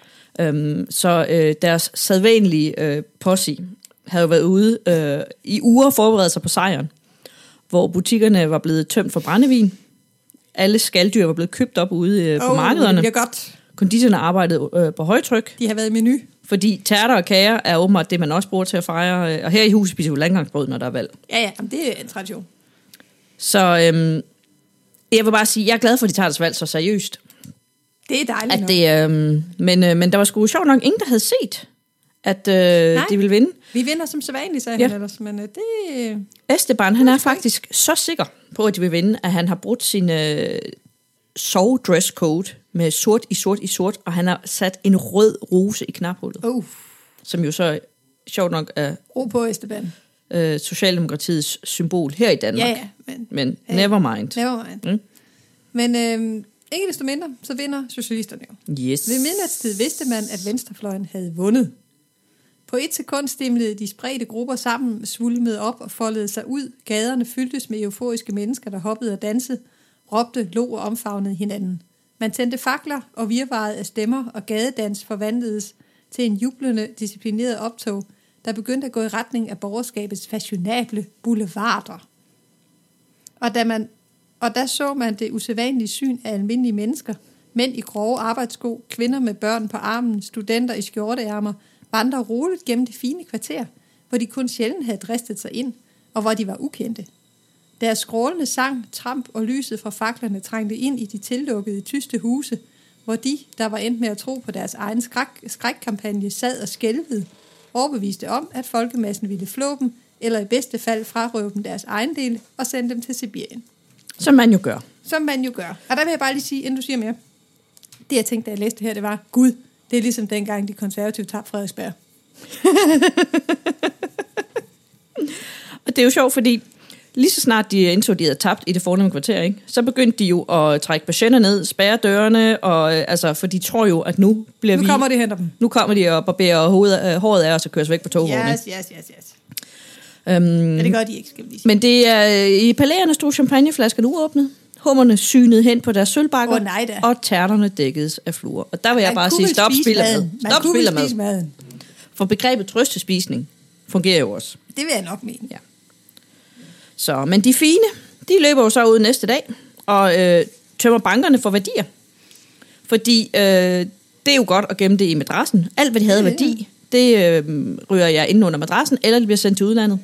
Speaker 2: Øhm, så øh, deres sædvanlige øh, posse havde jo været ude øh, i uger forberedt sig på sejren, hvor butikkerne var blevet tømt for brændevin. Alle skalddyr var blevet købt op ude øh, på
Speaker 1: Åh,
Speaker 2: markederne.
Speaker 1: Det bliver Oh, godt.
Speaker 2: Konditionerne arbejdede øh, på højtryk,
Speaker 1: De har været i menu.
Speaker 2: fordi tærter og kager er åbenbart det, man også bruger til at fejre. øh, Og her i huset spiser vi landgangsbrød, når der er valg.
Speaker 1: Ja, ja, jamen, det er en tradition.
Speaker 2: Så øhm, jeg vil bare sige, jeg er glad for, at de tager deres valg så seriøst.
Speaker 1: Det er dejligt
Speaker 2: At
Speaker 1: nok.
Speaker 2: det, øhm, men, øh, men der var sgu sjovt nok ingen, der havde set, at øh, de ville vinde.
Speaker 1: Vi vinder som sædvanligt, sagde ja.
Speaker 2: Ja.
Speaker 1: han ellers, men øh, det...
Speaker 2: Esteban, han er faktisk så sikker på, at de vil vinde, at han har brugt sin øh, sovdresscode med sort i sort i sort, og han har sat en rød rose i knaphullet,
Speaker 1: Oh,
Speaker 2: som jo så sjovt nok er
Speaker 1: ro på, Esteban.
Speaker 2: øh, Socialdemokratiets symbol her i Danmark.
Speaker 1: Ja, ja, men
Speaker 2: Men never mind.
Speaker 1: never mind. Mm.
Speaker 2: Mm.
Speaker 1: Men øh, ikke desto mindre, så vinder socialisterne jo.
Speaker 2: Yes.
Speaker 1: Ved midnatstid vidste man, at venstrefløjen havde vundet. På et sekund stimlede de spredte grupper sammen, svulmede op og foldede sig ud. Gaderne fyldtes med euforiske mennesker, der hoppede og dansede, råbte, lå og omfavnede hinanden. Man tændte fakler og virvaret af stemmer, og gadedans forvandledes til en jublende, disciplineret optog, der begyndte at gå i retning af borgerskabets fashionable boulevarder. Og da, man, og der så man det usædvanlige syn af almindelige mennesker. Mænd i grove arbejdssko, kvinder med børn på armen, studenter i skjorteærmer, vandrer roligt gennem det fine kvarter, hvor de kun sjældent havde dristet sig ind, og hvor de var ukendte. Deres skrålende sang, tramp og lyset fra faklerne trængte ind i de tillukkede tyste huse, hvor de, der var endt med at tro på deres egen skræk, skrækkampagne, sad og skælvede, overbeviste om, at folkemassen ville flå dem, eller i bedste fald frarøve dem deres egen del og sende dem til Sibirien.
Speaker 2: Som man jo gør.
Speaker 1: Som man jo gør. Og der vil jeg bare lige sige, inden du siger mere. Det jeg tænkte, da jeg læste det her, det var, Gud, det er ligesom dengang de konservative tabte Frederiksberg.
Speaker 2: Og det er jo sjovt, fordi lige så snart de indså, at de havde tabt i det fornemme kvarter, ikke? så begyndte de jo at trække patienter ned, spærre dørene, og, øh, altså, for de tror jo, at nu bliver
Speaker 1: Nu
Speaker 2: vi...
Speaker 1: kommer det og henter dem.
Speaker 2: nu kommer de og barberer hovedet, øh, håret af os og kører os væk på togvognen.
Speaker 1: Yes, yes, yes, yes.
Speaker 2: Øhm,
Speaker 1: Men det gør de ikke, skal vi lige sige.
Speaker 2: men det er øh, i palæerne stod champagneflaskerne uåbnet, hummerne synede hen på deres sølvbakker,
Speaker 1: Åh, nej da.
Speaker 2: og tærterne dækkedes af fluer. Og der vil jeg
Speaker 1: Man
Speaker 2: bare
Speaker 1: kunne
Speaker 2: sige,
Speaker 1: vel
Speaker 2: stop
Speaker 1: spise
Speaker 2: spillet
Speaker 1: maden.
Speaker 2: med.
Speaker 1: Man
Speaker 2: Stop
Speaker 1: kunne vel
Speaker 2: spillet med.
Speaker 1: spise maden.
Speaker 2: For begrebet trøstespisning fungerer jo også.
Speaker 1: Det vil jeg nok mene.
Speaker 2: Ja. Så, men de fine, de løber jo så ud næste dag og øh, tømmer bankerne for værdier. Fordi øh, det er jo godt at gemme det i madrassen. Alt, hvad de havde
Speaker 1: Ja, ja.
Speaker 2: værdi, det øh, ryger jeg ind under madrassen, eller det bliver sendt til udlandet.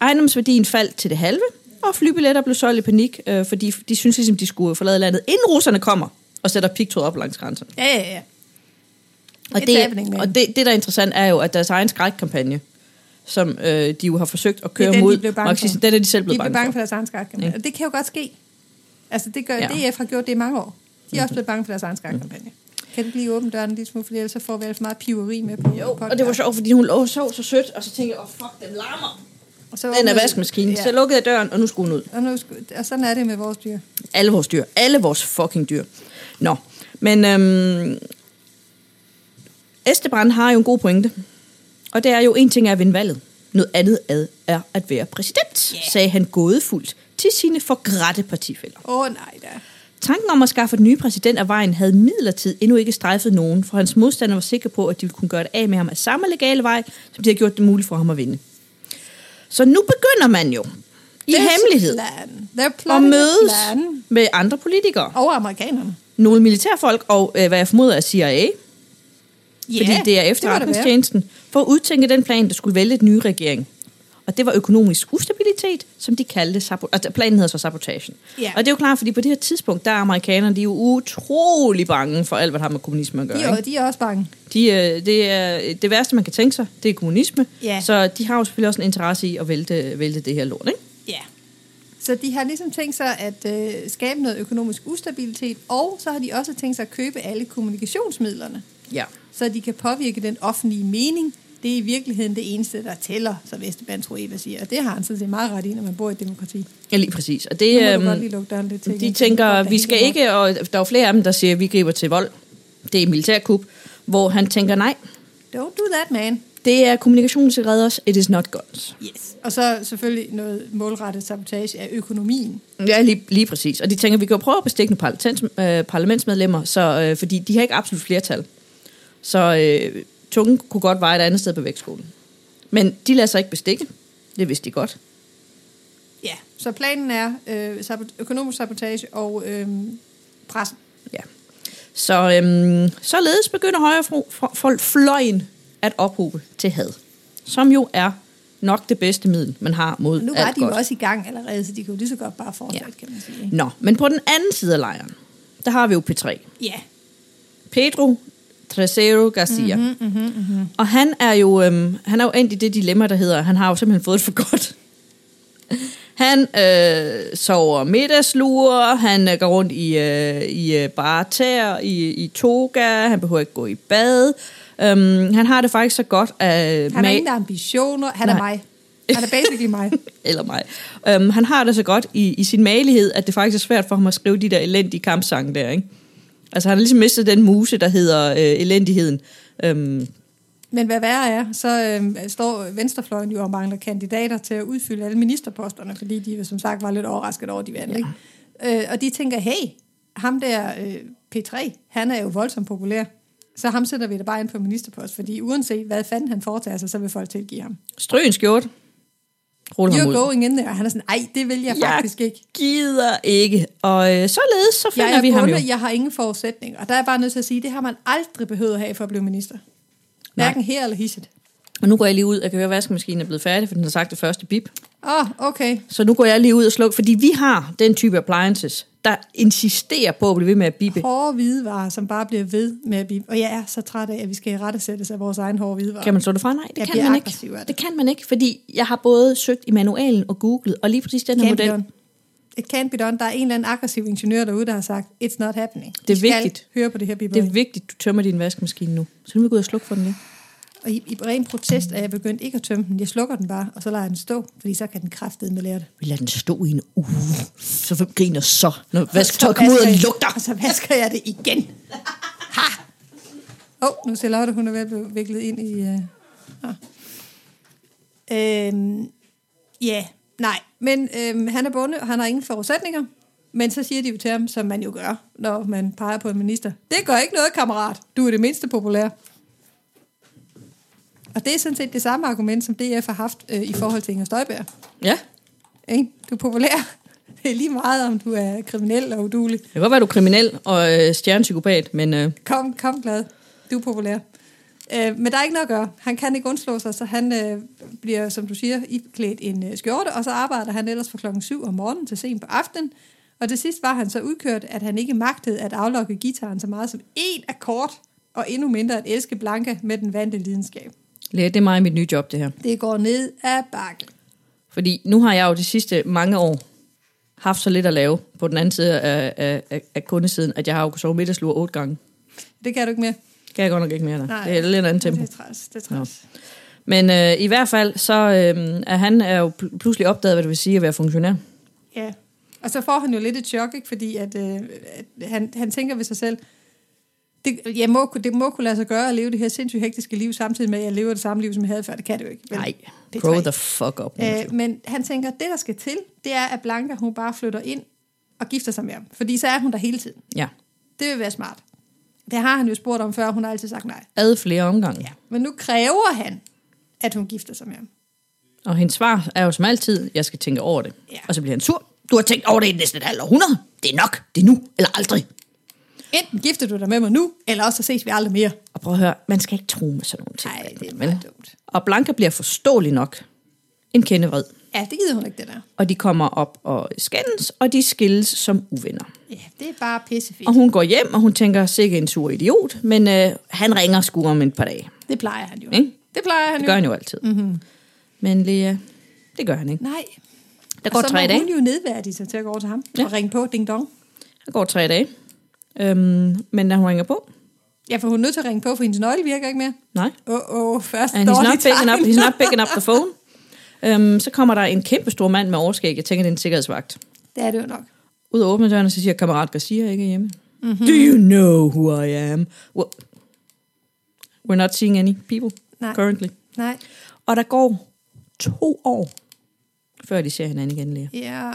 Speaker 2: Ejendomsværdien faldt til det halve, og flybilletter blev solgt i panik, øh, fordi de synes ligesom, de skulle forlade landet, inden russerne kommer og sætter pigtråd op langs grænsen.
Speaker 1: Ja, ja, ja.
Speaker 2: Og,
Speaker 1: It's happening,
Speaker 2: det,
Speaker 1: man.
Speaker 2: og det, det, der er interessant, er jo, at deres egen skrækkampagne, som øh, de jo har forsøgt at
Speaker 1: Det er
Speaker 2: køre
Speaker 1: den,
Speaker 2: mod
Speaker 1: de blev bange for.
Speaker 2: marxisten, den er de selv blevet
Speaker 1: de
Speaker 2: bange,
Speaker 1: blev bange
Speaker 2: for.
Speaker 1: for deres egen skrækkampagne.
Speaker 2: Ja.
Speaker 1: Og det kan jo godt ske. Altså, det gør
Speaker 2: Ja. Mm-hmm.
Speaker 1: ja. DF har gjort det i mange år. De er også blevet bange for deres egen skrækkampagne. Kan du lige åbne døren en lille smule, for ellers så får vi alt for meget piveri med på
Speaker 2: Jo, og det var sjovt, fordi hun lå og sov så sødt, og så tænkte jeg, åh oh, fuck, den larmer. Den er vaskemaskinen. Ja. Så lukkede jeg døren, og nu skulle hun ud.
Speaker 1: Og, nu, sku- og sådan er det med vores dyr.
Speaker 2: Alle vores dyr. Alle vores fucking dyr. Nå, men øhm, Esteban har jo en god pointe. Og det er jo, en ting er at vinde valget. Noget andet ad er at være præsident, yeah. sagde han gådefuldt til sine forgrætte partifælder.
Speaker 1: Åh oh, nej da.
Speaker 2: Tanken om at skaffe den nye præsident af vejen havde midlertid endnu ikke strejfet nogen, for hans modstander var sikker på, at de ville kunne gøre det af med ham af samme legale vej, som de har gjort det muligt for ham at vinde. Så nu begynder man jo i
Speaker 1: There's a
Speaker 2: hemmelighed
Speaker 1: Plan. They're
Speaker 2: at
Speaker 1: plotting a
Speaker 2: mødes
Speaker 1: Plan.
Speaker 2: med andre politikere,
Speaker 1: Over amerikanerne.
Speaker 2: nogle militærfolk og, øh, hvad jeg formoder, er CIA,
Speaker 1: Ja,
Speaker 2: fordi det er efterretningstjenesten, for at udtænke den plan, der skulle vælge den nye regering. Og det var økonomisk ustabilitet, som de kaldte sabot- altså, planen hedder så sabotagen.
Speaker 1: Ja.
Speaker 2: Og det er jo klart, fordi på det her tidspunkt, der er amerikanerne de er jo utrolig bange for alt, hvad der har med kommunisme at gøre.
Speaker 1: De, er,
Speaker 2: ikke?
Speaker 1: de er også bange.
Speaker 2: De, øh, det, er, det værste, man kan tænke sig, det er kommunisme.
Speaker 1: Ja.
Speaker 2: Så de har jo selvfølgelig også en interesse i at vælte, vælte det her lort. Ikke?
Speaker 1: Ja. Så de har ligesom tænkt sig at øh, skabe noget økonomisk ustabilitet, og så har de også tænkt sig at købe alle kommunikationsmidlerne,
Speaker 2: Ja.
Speaker 1: så de kan påvirke den offentlige mening. Det er i virkeligheden det eneste, der tæller, som Esteban Trueba siger. Og det har han sådan set meget ret i, når man bor i et demokrati.
Speaker 2: ja, lige præcis. Og
Speaker 1: Nu
Speaker 2: det,
Speaker 1: må du
Speaker 2: øhm,
Speaker 1: godt lige lukke døren lidt til.
Speaker 2: De
Speaker 1: igen, så
Speaker 2: tænker,
Speaker 1: folk, der
Speaker 2: vi skal
Speaker 1: hænger
Speaker 2: ikke, og der er jo flere af dem, der siger, at vi griber til vold. Det er militærkup, hvor han tænker, nej,
Speaker 1: rundt. Don't do that, man.
Speaker 2: det er kommunikation, der redder os. It is not guns.
Speaker 1: Yes. Og så selvfølgelig noget målrettet sabotage af økonomien.
Speaker 2: Ja, lige, lige præcis. Og de tænker, vi kan jo prøve at bestikke nogle parlament, øh, parlamentsmedlemmer, så, øh, fordi de har ikke absolut flertal. Så øh, tungen kunne godt veje et andet sted på vægtskolen. Men de lader sig ikke bestikke. Det vidste de godt.
Speaker 1: Ja. Så planen er øh, sabot- økonomisk sabotage og øh, pressen.
Speaker 2: Ja. Så øhm, således begynder højrefløjen at ophobe til had, som jo er nok det bedste middel, man har mod
Speaker 1: Og nu var
Speaker 2: alt
Speaker 1: de jo
Speaker 2: godt.
Speaker 1: også i gang allerede, så de kunne jo lige så godt bare fortsætte, ja. kan man sige. ikke?
Speaker 2: Nå, men på den anden side af lejren, der har vi jo P3.
Speaker 1: Ja.
Speaker 2: Pedro Trasero Garcia. Mm-hmm, mm-hmm, mm-hmm. Og han er jo øhm, han er jo endt i det dilemma, der hedder, han har jo simpelthen fået det for godt. Han øh, sover middagslure, han øh, går rundt i, øh, i øh, bare tæer, i, i toga, han behøver ikke gå i bad. Øhm, han har det faktisk så godt, at...
Speaker 1: Han har
Speaker 2: ma-
Speaker 1: ingen ambitioner. Han er
Speaker 2: Nej.
Speaker 1: mig. Han er basically mig.
Speaker 2: eller mig. Øhm, han har det så godt i, i sin malighed, at det faktisk er svært for ham at skrive de der elendige kampsange der, ikke? Altså han har ligesom mistet den muse, der hedder øh, elendigheden. Øhm,
Speaker 1: Men hvad værre er, så øh, står Venstrefløjen jo og mangler kandidater til at udfylde alle ministerposterne, fordi de som sagt var lidt overrasket over, at de vandt. Ja. Ikke? Øh, og de tænker, hey, ham der øh, P3, han er jo voldsomt populær. Så ham sætter vi da bare ind på ministerpost, fordi uanset hvad fanden han foretager sig, så vil folk tilgive ham.
Speaker 2: Strø en skjort. Rul ham
Speaker 1: You're
Speaker 2: ud.
Speaker 1: going in there. Og han er sådan, ej, det vil jeg faktisk ikke.
Speaker 2: gider ikke. Og øh, således så finder
Speaker 1: Jeg er
Speaker 2: vi ham jo.
Speaker 1: bundet, jeg har ingen forudsætninger. Og der er jeg bare nødt til at sige, det har man aldrig behøvet at have for at blive minister. Hverken her eller hisset.
Speaker 2: Og nu går jeg lige ud. Jeg kan høre, at vaskemaskinen er blevet færdig, for den har sagt det første bip.
Speaker 1: Åh, oh, okay.
Speaker 2: Så nu går jeg lige ud og slukker, fordi vi har den type appliances, der insisterer på at blive ved med at bippe.
Speaker 1: Hårde hvidevarer, som bare bliver ved med at blive... Og jeg er så træt af, at vi skal i rettesættes af vores egen hårde hvidevarer.
Speaker 2: Kan man slå det fra? Nej, det
Speaker 1: Jeg
Speaker 2: kan
Speaker 1: bliver
Speaker 2: man
Speaker 1: aggressiv
Speaker 2: ikke.
Speaker 1: af det.
Speaker 2: Det kan man ikke, fordi jeg har både søgt i manualen og googlet, og lige præcis den her model,
Speaker 1: Campion. it can't be done. Der er en eller anden aggressiv ingeniør derude, der har sagt, it's not happening.
Speaker 2: Det er
Speaker 1: I skal
Speaker 2: vigtigt.
Speaker 1: høre på det her
Speaker 2: Det
Speaker 1: biberi.
Speaker 2: er vigtigt, du tømmer din vaskemaskine nu. Så nu vil vi gå ud og slukke for den lige.
Speaker 1: Og i, i ren protest er jeg begyndt ikke at tømme den. Jeg slukker den bare, og så lader jeg den stå, fordi så kan den kraftedeme lære det.
Speaker 2: Vi lader den stå i en uge. Så hvem griner så, når vasketøj
Speaker 1: Så
Speaker 2: kommer ud
Speaker 1: vasker
Speaker 2: og
Speaker 1: jeg-
Speaker 2: lugter?
Speaker 1: Og så vasker jeg det igen. Ha! Åh, oh, nu ser Lotte, hun er ved at blive viklet ind i... Uh... Øhm, ja, nej. Men øhm, han er bonde, og han har ingen forudsætninger. Men så siger de jo til ham, som man jo gør, når man peger på en minister. Det gør ikke noget, kammerat. Du er det mindste populær. Og det er sådan set det samme argument, som DF har haft øh, i forhold til Inger Støjberg.
Speaker 2: Ja,
Speaker 1: Ikke? Du er populær. Det er lige meget, om du er kriminel og udulig.
Speaker 2: det kan godt være, du er kriminel og øh, stjernepsykopat, men øh,
Speaker 1: Kom, kom glad. Du er populær. Øh, men der er ikke noget at gøre. Han kan ikke undslå sig, så han øh, bliver, som du siger, iklædt en øh, skjorte, og så arbejder han ellers fra klokken 7 om morgenen til sent på aftenen. Og til sidst var han så udkørt, at han ikke magtede at aflokke gitaren så meget som én akkord, og endnu mindre at elske Blanca med den vante lidenskab.
Speaker 2: Lea, det er mig i mit nye job, det her.
Speaker 1: Det går ned ad bakken.
Speaker 2: Fordi nu har jeg jo de sidste mange år haft så lidt at lave på den anden side af, af, af, af kundesiden, at jeg har jo sovet middagslur otte gange.
Speaker 1: Det kan du ikke mere.
Speaker 2: Kan jeg godt nok ikke mere, der.
Speaker 1: Nej.
Speaker 2: Det er lidt andet tempo.
Speaker 1: Det er træls. Det er træls.
Speaker 2: Men øh, i hvert fald, så øh, er han er jo pl- pludselig opdaget, hvad det vil sige at være funktionær.
Speaker 1: Ja, og så får han jo lidt et chok, ikke? fordi at, øh, at han, han tænker ved sig selv, det, jeg må, kunne- det må kunne lade sig gøre at leve det her sindssygt hektiske liv, samtidig med, at jeg lever det samme liv, som jeg havde før. Det kan det jo ikke. vel?
Speaker 2: Nej,
Speaker 1: det
Speaker 2: grow
Speaker 1: tror jeg
Speaker 2: the fuck up. Æh,
Speaker 1: Øh, men han tænker, at det, der skal til, det er, at Blanca, hun bare flytter ind og gifter sig med ham. Fordi så er hun der hele tiden.
Speaker 2: ja,
Speaker 1: Det vil være smart. Det har han jo spurgt om før, og hun har altid sagt nej.
Speaker 2: ad flere omgange. Ja.
Speaker 1: Men nu kræver han, at hun gifter sig med ham.
Speaker 2: Og hendes svar er jo som altid, jeg skal tænke over det.
Speaker 1: Ja.
Speaker 2: Og så bliver han sur. Du har tænkt over det i næsten et halvt århundrede. Det er nok. Det er nu eller aldrig.
Speaker 1: Enten gifter du dig med mig nu, eller også så ses vi aldrig mere.
Speaker 2: Og prøv at høre, man skal ikke tro med sådan nogle ting.
Speaker 1: Nej, det er
Speaker 2: Vel?
Speaker 1: meget dumt.
Speaker 2: Og Blanca bliver forståelig nok en kendevred.
Speaker 1: Ja, det gider hun ikke, det der.
Speaker 2: Og de kommer op og skændes, og de skilles som uvenner.
Speaker 1: Ja, det er bare pissefedt.
Speaker 2: Og hun går hjem, og hun tænker, sikke en sur idiot, men øh, han ringer sgu om et par dage.
Speaker 1: Det plejer han jo.
Speaker 2: Ikke?
Speaker 1: Det plejer han
Speaker 2: Det
Speaker 1: jo.
Speaker 2: gør han jo altid. Mm-hmm. Men Lea, det gør han ikke.
Speaker 1: Nej.
Speaker 2: Der går
Speaker 1: så
Speaker 2: tre
Speaker 1: må
Speaker 2: dage.
Speaker 1: hun jo nedværdige sig til at gå over til ham ja. og ringe på ding dong.
Speaker 2: Der går tre dage. Øhm, men da hun ringer på,
Speaker 1: Ja, for hun er nødt til at ringe på, for hendes nøgle virker ikke mere.
Speaker 2: nej.
Speaker 1: Åh, oh, oh, først
Speaker 2: And he's
Speaker 1: dårlig
Speaker 2: not picking up,
Speaker 1: tegn.
Speaker 2: he's not picking up the phone. Øhm, så kommer der en kæmpe stor mand med overskæg. Jeg tænker, det er en sikkerhedsvagt.
Speaker 1: Det er det jo nok.
Speaker 2: Ud af åbne døren, og så siger kammerat Garcia ikke er hjemme. Mm-hmm. Do you know who I am? Well, we're not seeing any people
Speaker 1: Nej.
Speaker 2: currently.
Speaker 1: Nej.
Speaker 2: Og der går to år, før de ser hinanden igen, Lea.
Speaker 1: Ja.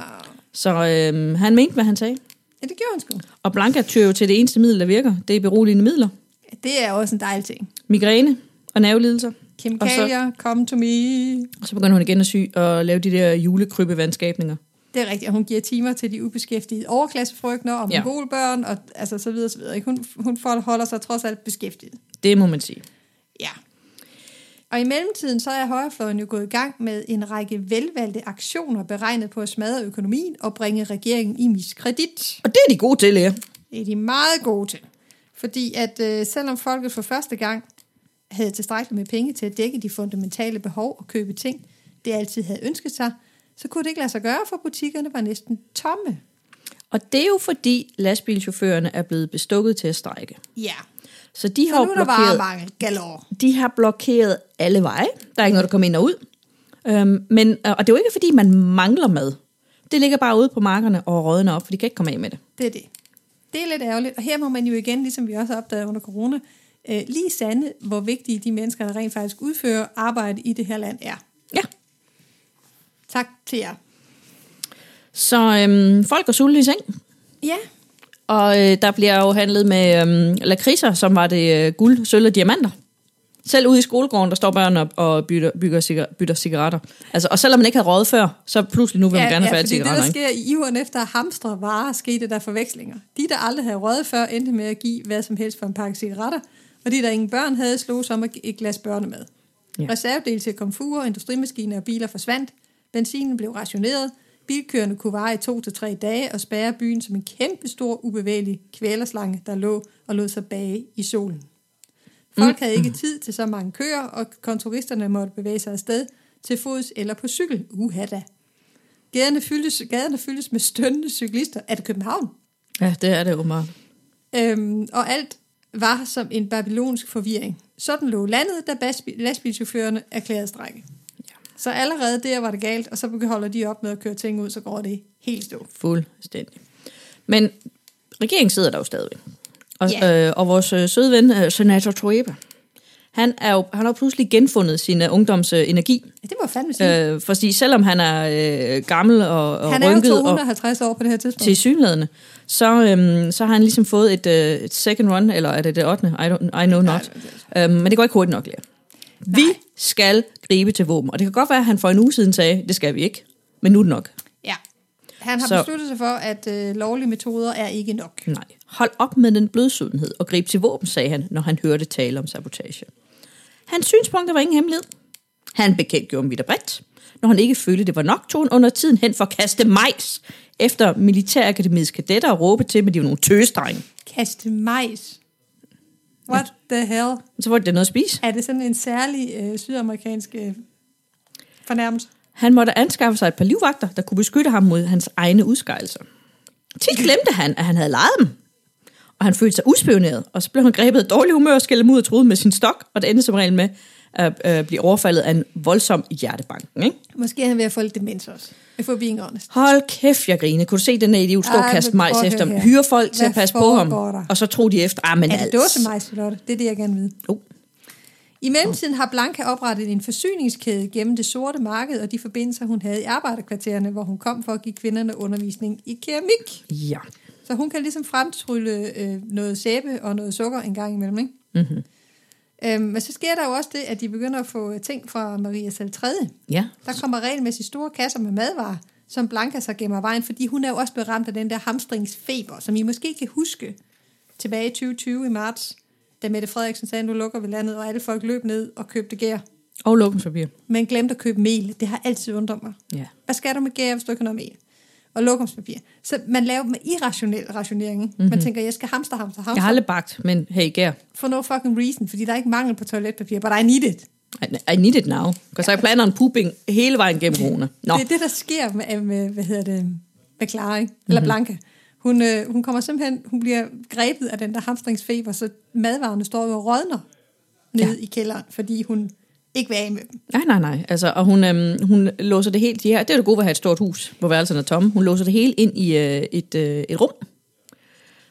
Speaker 2: Så øhm, han mente, hvad han sagde.
Speaker 1: ja, det gjorde hun sgu.
Speaker 2: Og Blanca tyrer jo til det eneste middel, der virker. Det er beroligende midler.
Speaker 1: Ja, det er også en dejlig ting.
Speaker 2: Migræne og nervelidelser.
Speaker 1: Kemikalier, come to me.
Speaker 2: Og så begynder hun igen at sy og lave de der julekrybevandskabninger.
Speaker 1: Det er rigtigt, og hun giver timer til de ubeskæftigede overklassefrygtner og
Speaker 2: Ja.
Speaker 1: mongolbørn, og altså så videre, så videre. ikke? Hun, hun forholder sig trods alt beskæftiget.
Speaker 2: Det må man sige.
Speaker 1: Ja. Og i mellemtiden så er højrefløjen jo gået i gang med en række velvalgte aktioner beregnet på at smadre økonomien og bringe regeringen i miskredit.
Speaker 2: Og det er de gode til, Lea.
Speaker 1: Det er de meget gode til. Fordi at øh, selvom folket for første gang havde tilstrækkeligt med penge til at dække de fundamentale behov og købe ting, det altid havde ønsket sig, så kunne det ikke lade sig gøre, for butikkerne var næsten tomme.
Speaker 2: Og det er jo fordi lastbilchaufførerne er blevet bestukket til at strække.
Speaker 1: Ja.
Speaker 2: Så de har
Speaker 1: Så
Speaker 2: jo
Speaker 1: nu er der
Speaker 2: blokeret,
Speaker 1: varemangel galore.
Speaker 2: de har blokeret alle veje. Der er ikke noget, der kommer ind og ud. Øhm, men, og det er jo ikke, fordi man mangler mad. Det ligger bare ude på markerne og rådner op, for de kan ikke komme af med det.
Speaker 1: Det er det. Det er lidt ærgerligt. Og her må man jo igen, ligesom vi også har opdaget under corona, øh, lige sande, hvor vigtige de mennesker, der rent faktisk udfører arbejde i det her land, er.
Speaker 2: Ja,
Speaker 1: Tak til jer.
Speaker 2: Så øhm, folk går sultne i seng,
Speaker 1: Ja,
Speaker 2: og øh, der bliver jo handlet med øhm, lakridser, som var det øh, guld, sølv og diamanter. Selv ude i skolegården, der står børn og, og bytter, bygger cigar- bytter cigaretter. Altså, og selvom man ikke havde røget før, så pludselig nu vil man
Speaker 1: ja,
Speaker 2: gerne have
Speaker 1: ja
Speaker 2: fat i
Speaker 1: fordi det, der
Speaker 2: cigaretter. ikke?
Speaker 1: sker i iveren efter at hamstre varer, skete der forvekslinger. De, der aldrig havde røget før, endte med at give hvad som helst for en pakke cigaretter, og de, der ingen børn havde, slog som et glas børnemad.
Speaker 2: Ja.
Speaker 1: Ja. Reservedele til komfurer, industrimaskiner og biler forsvandt. Benzinen blev rationeret. Bilkørende kunne vare i to til tre dage og spærre byen som en kæmpe stor ubevægelig kvælerslange, der lå og lod sig bage i solen.
Speaker 2: Mm.
Speaker 1: Folk havde ikke tid til så mange køer, og kontoristerne måtte bevæge sig afsted til fods eller på cykel. Uha da. Gaderne fyldes, gaderne fyldes med stønnende cyklister. Er det København?
Speaker 2: Ja, det er det åbenbart.
Speaker 1: Øhm, og alt var som en babylonsk forvirring. Sådan lå landet, da basbi- lastbilchaufførerne erklærede strække. Ja. Så allerede der var det galt, og så holder de op med at køre ting ud, så går det helt stå.
Speaker 2: Fuldstændig. Men regeringen sidder der jo stadigvæk. Og,
Speaker 1: Ja.
Speaker 2: øh, og vores øh, søde ven, øh, senator Toeba, han, er jo, han har jo pludselig genfundet sin øh, ungdoms øh, energi.
Speaker 1: Ja, det må jeg fandme sige. Øh,
Speaker 2: Øh, fordi selvom han er øh, gammel og, og
Speaker 1: han er jo
Speaker 2: rynket og
Speaker 1: 250 år på det her tidspunkt.
Speaker 2: til synlædende, så, øhm, så har han ligesom fået et, øh, et second run, eller er det det 8. I, don't, I know not. Øhm, men det går ikke hurtigt nok, Lea. Vi skal gribe til våben. Og det kan godt være, at han for en uge siden sagde, det skal vi ikke. Men nu er det nok.
Speaker 1: Ja. Han har
Speaker 2: Så-
Speaker 1: så. besluttet sig for, at øh, lovlige metoder er ikke nok.
Speaker 2: Nej. Hold op med den blødsødenhed og grib til våben, sagde han, når han hørte tale om sabotage. Hans synspunkter var ingen hemmelighed. Han bekendtgjorde dem vidt og bredt. Når han ikke følte, det var nok, tog han under tiden hen for at kaste majs efter militærakademiets kadetter og råbe til, men de var nogle tøsdrenge.
Speaker 1: Kaste majs. What the hell?
Speaker 2: Så var det da noget at spise.
Speaker 1: Er det sådan en særlig øh, sydamerikansk øh, fornærmelse?
Speaker 2: Han måtte anskaffe sig et par livvagter, der kunne beskytte ham mod hans egne udskejelser. Tit glemte han, at han havde lejet dem, og han følte sig uspioneret, og så blev han grebet af dårlig humør, skældt dem ud og truet med sin stok, og det endte som regel med at øh, blive overfaldet af en voldsom hjertebanken. Ikke?
Speaker 1: Måske er han ved at få lidt demens også. If we're being honest.
Speaker 2: Hold kæft, jeg grine. Kunne du se den her idiot stå og
Speaker 1: Ej,
Speaker 2: kaste
Speaker 1: men
Speaker 2: majs
Speaker 1: prøv at
Speaker 2: efter ham?
Speaker 1: høre her.
Speaker 2: Hyre folk til
Speaker 1: Hvad
Speaker 2: at passe på ham,
Speaker 1: foregår der?
Speaker 2: og så tog de efter. Ah, men
Speaker 1: Er det
Speaker 2: altså. Oh,
Speaker 1: dåsemajs, Lotte? Det er det, jeg gerne vil.
Speaker 2: Jo.
Speaker 1: I mellemtiden har Blanca oprettet en forsyningskæde gennem det sorte marked og de forbindelser, hun havde i arbejderkvartererne, hvor hun kom for at give kvinderne undervisning i keramik.
Speaker 2: Ja.
Speaker 1: Så hun kan ligesom fremtrylle øh, noget sæbe og noget sukker en gang imellem, ikke?
Speaker 2: Mhm.
Speaker 1: Mm-hmm. Øhm, men så sker der jo også det, at de begynder at få øh, ting fra Maria selv 3.
Speaker 2: ja.
Speaker 1: Der kommer regelmæssigt store kasser med madvarer, som Blanca så gemmer af vejen, fordi hun er jo også blevet ramt af den der hamstringsfeber, som I måske kan huske tilbage i 2020 i marts, da Mette Frederiksen sagde, nu lukker vi landet, og alle folk løb ned og købte gær,
Speaker 2: Og lukkenspapir.
Speaker 1: men glemte at købe mel. Det har altid undret mig.
Speaker 2: Ja.
Speaker 1: Hvad skal du med gær, hvis du ikke har noget mel? Og lokumspapir. Så man laver dem med irrationel rationering. Mm-hmm. Man tænker, jeg skal hamster, hamster,
Speaker 2: Mhm. Jeg
Speaker 1: hamster.
Speaker 2: har aldrig bagt, men hey, gær.
Speaker 1: For no fucking reason, fordi der er ikke mangel på toiletpapir, but I need it.
Speaker 2: I, I need it now. Because I plan on pooping hele vejen gennem corona. Nå,
Speaker 1: Det er det, der sker med, med hvad hedder det, med Clara, ikke? eller mm-hmm. Blanca. Hun, øh, hun kommer simpelthen, hun bliver grebet af den der hamstringsfeber, så madvarerne står jo og rådner nede ja. i kælderen, fordi hun ikke vil af med dem.
Speaker 2: nej, nej, nej. Altså, og hun, øhm, hun låser det helt de her. Det er jo det gode ved at have et stort hus, hvor værelserne er tomme. Hun låser det hele ind i øh, et, øh, et rum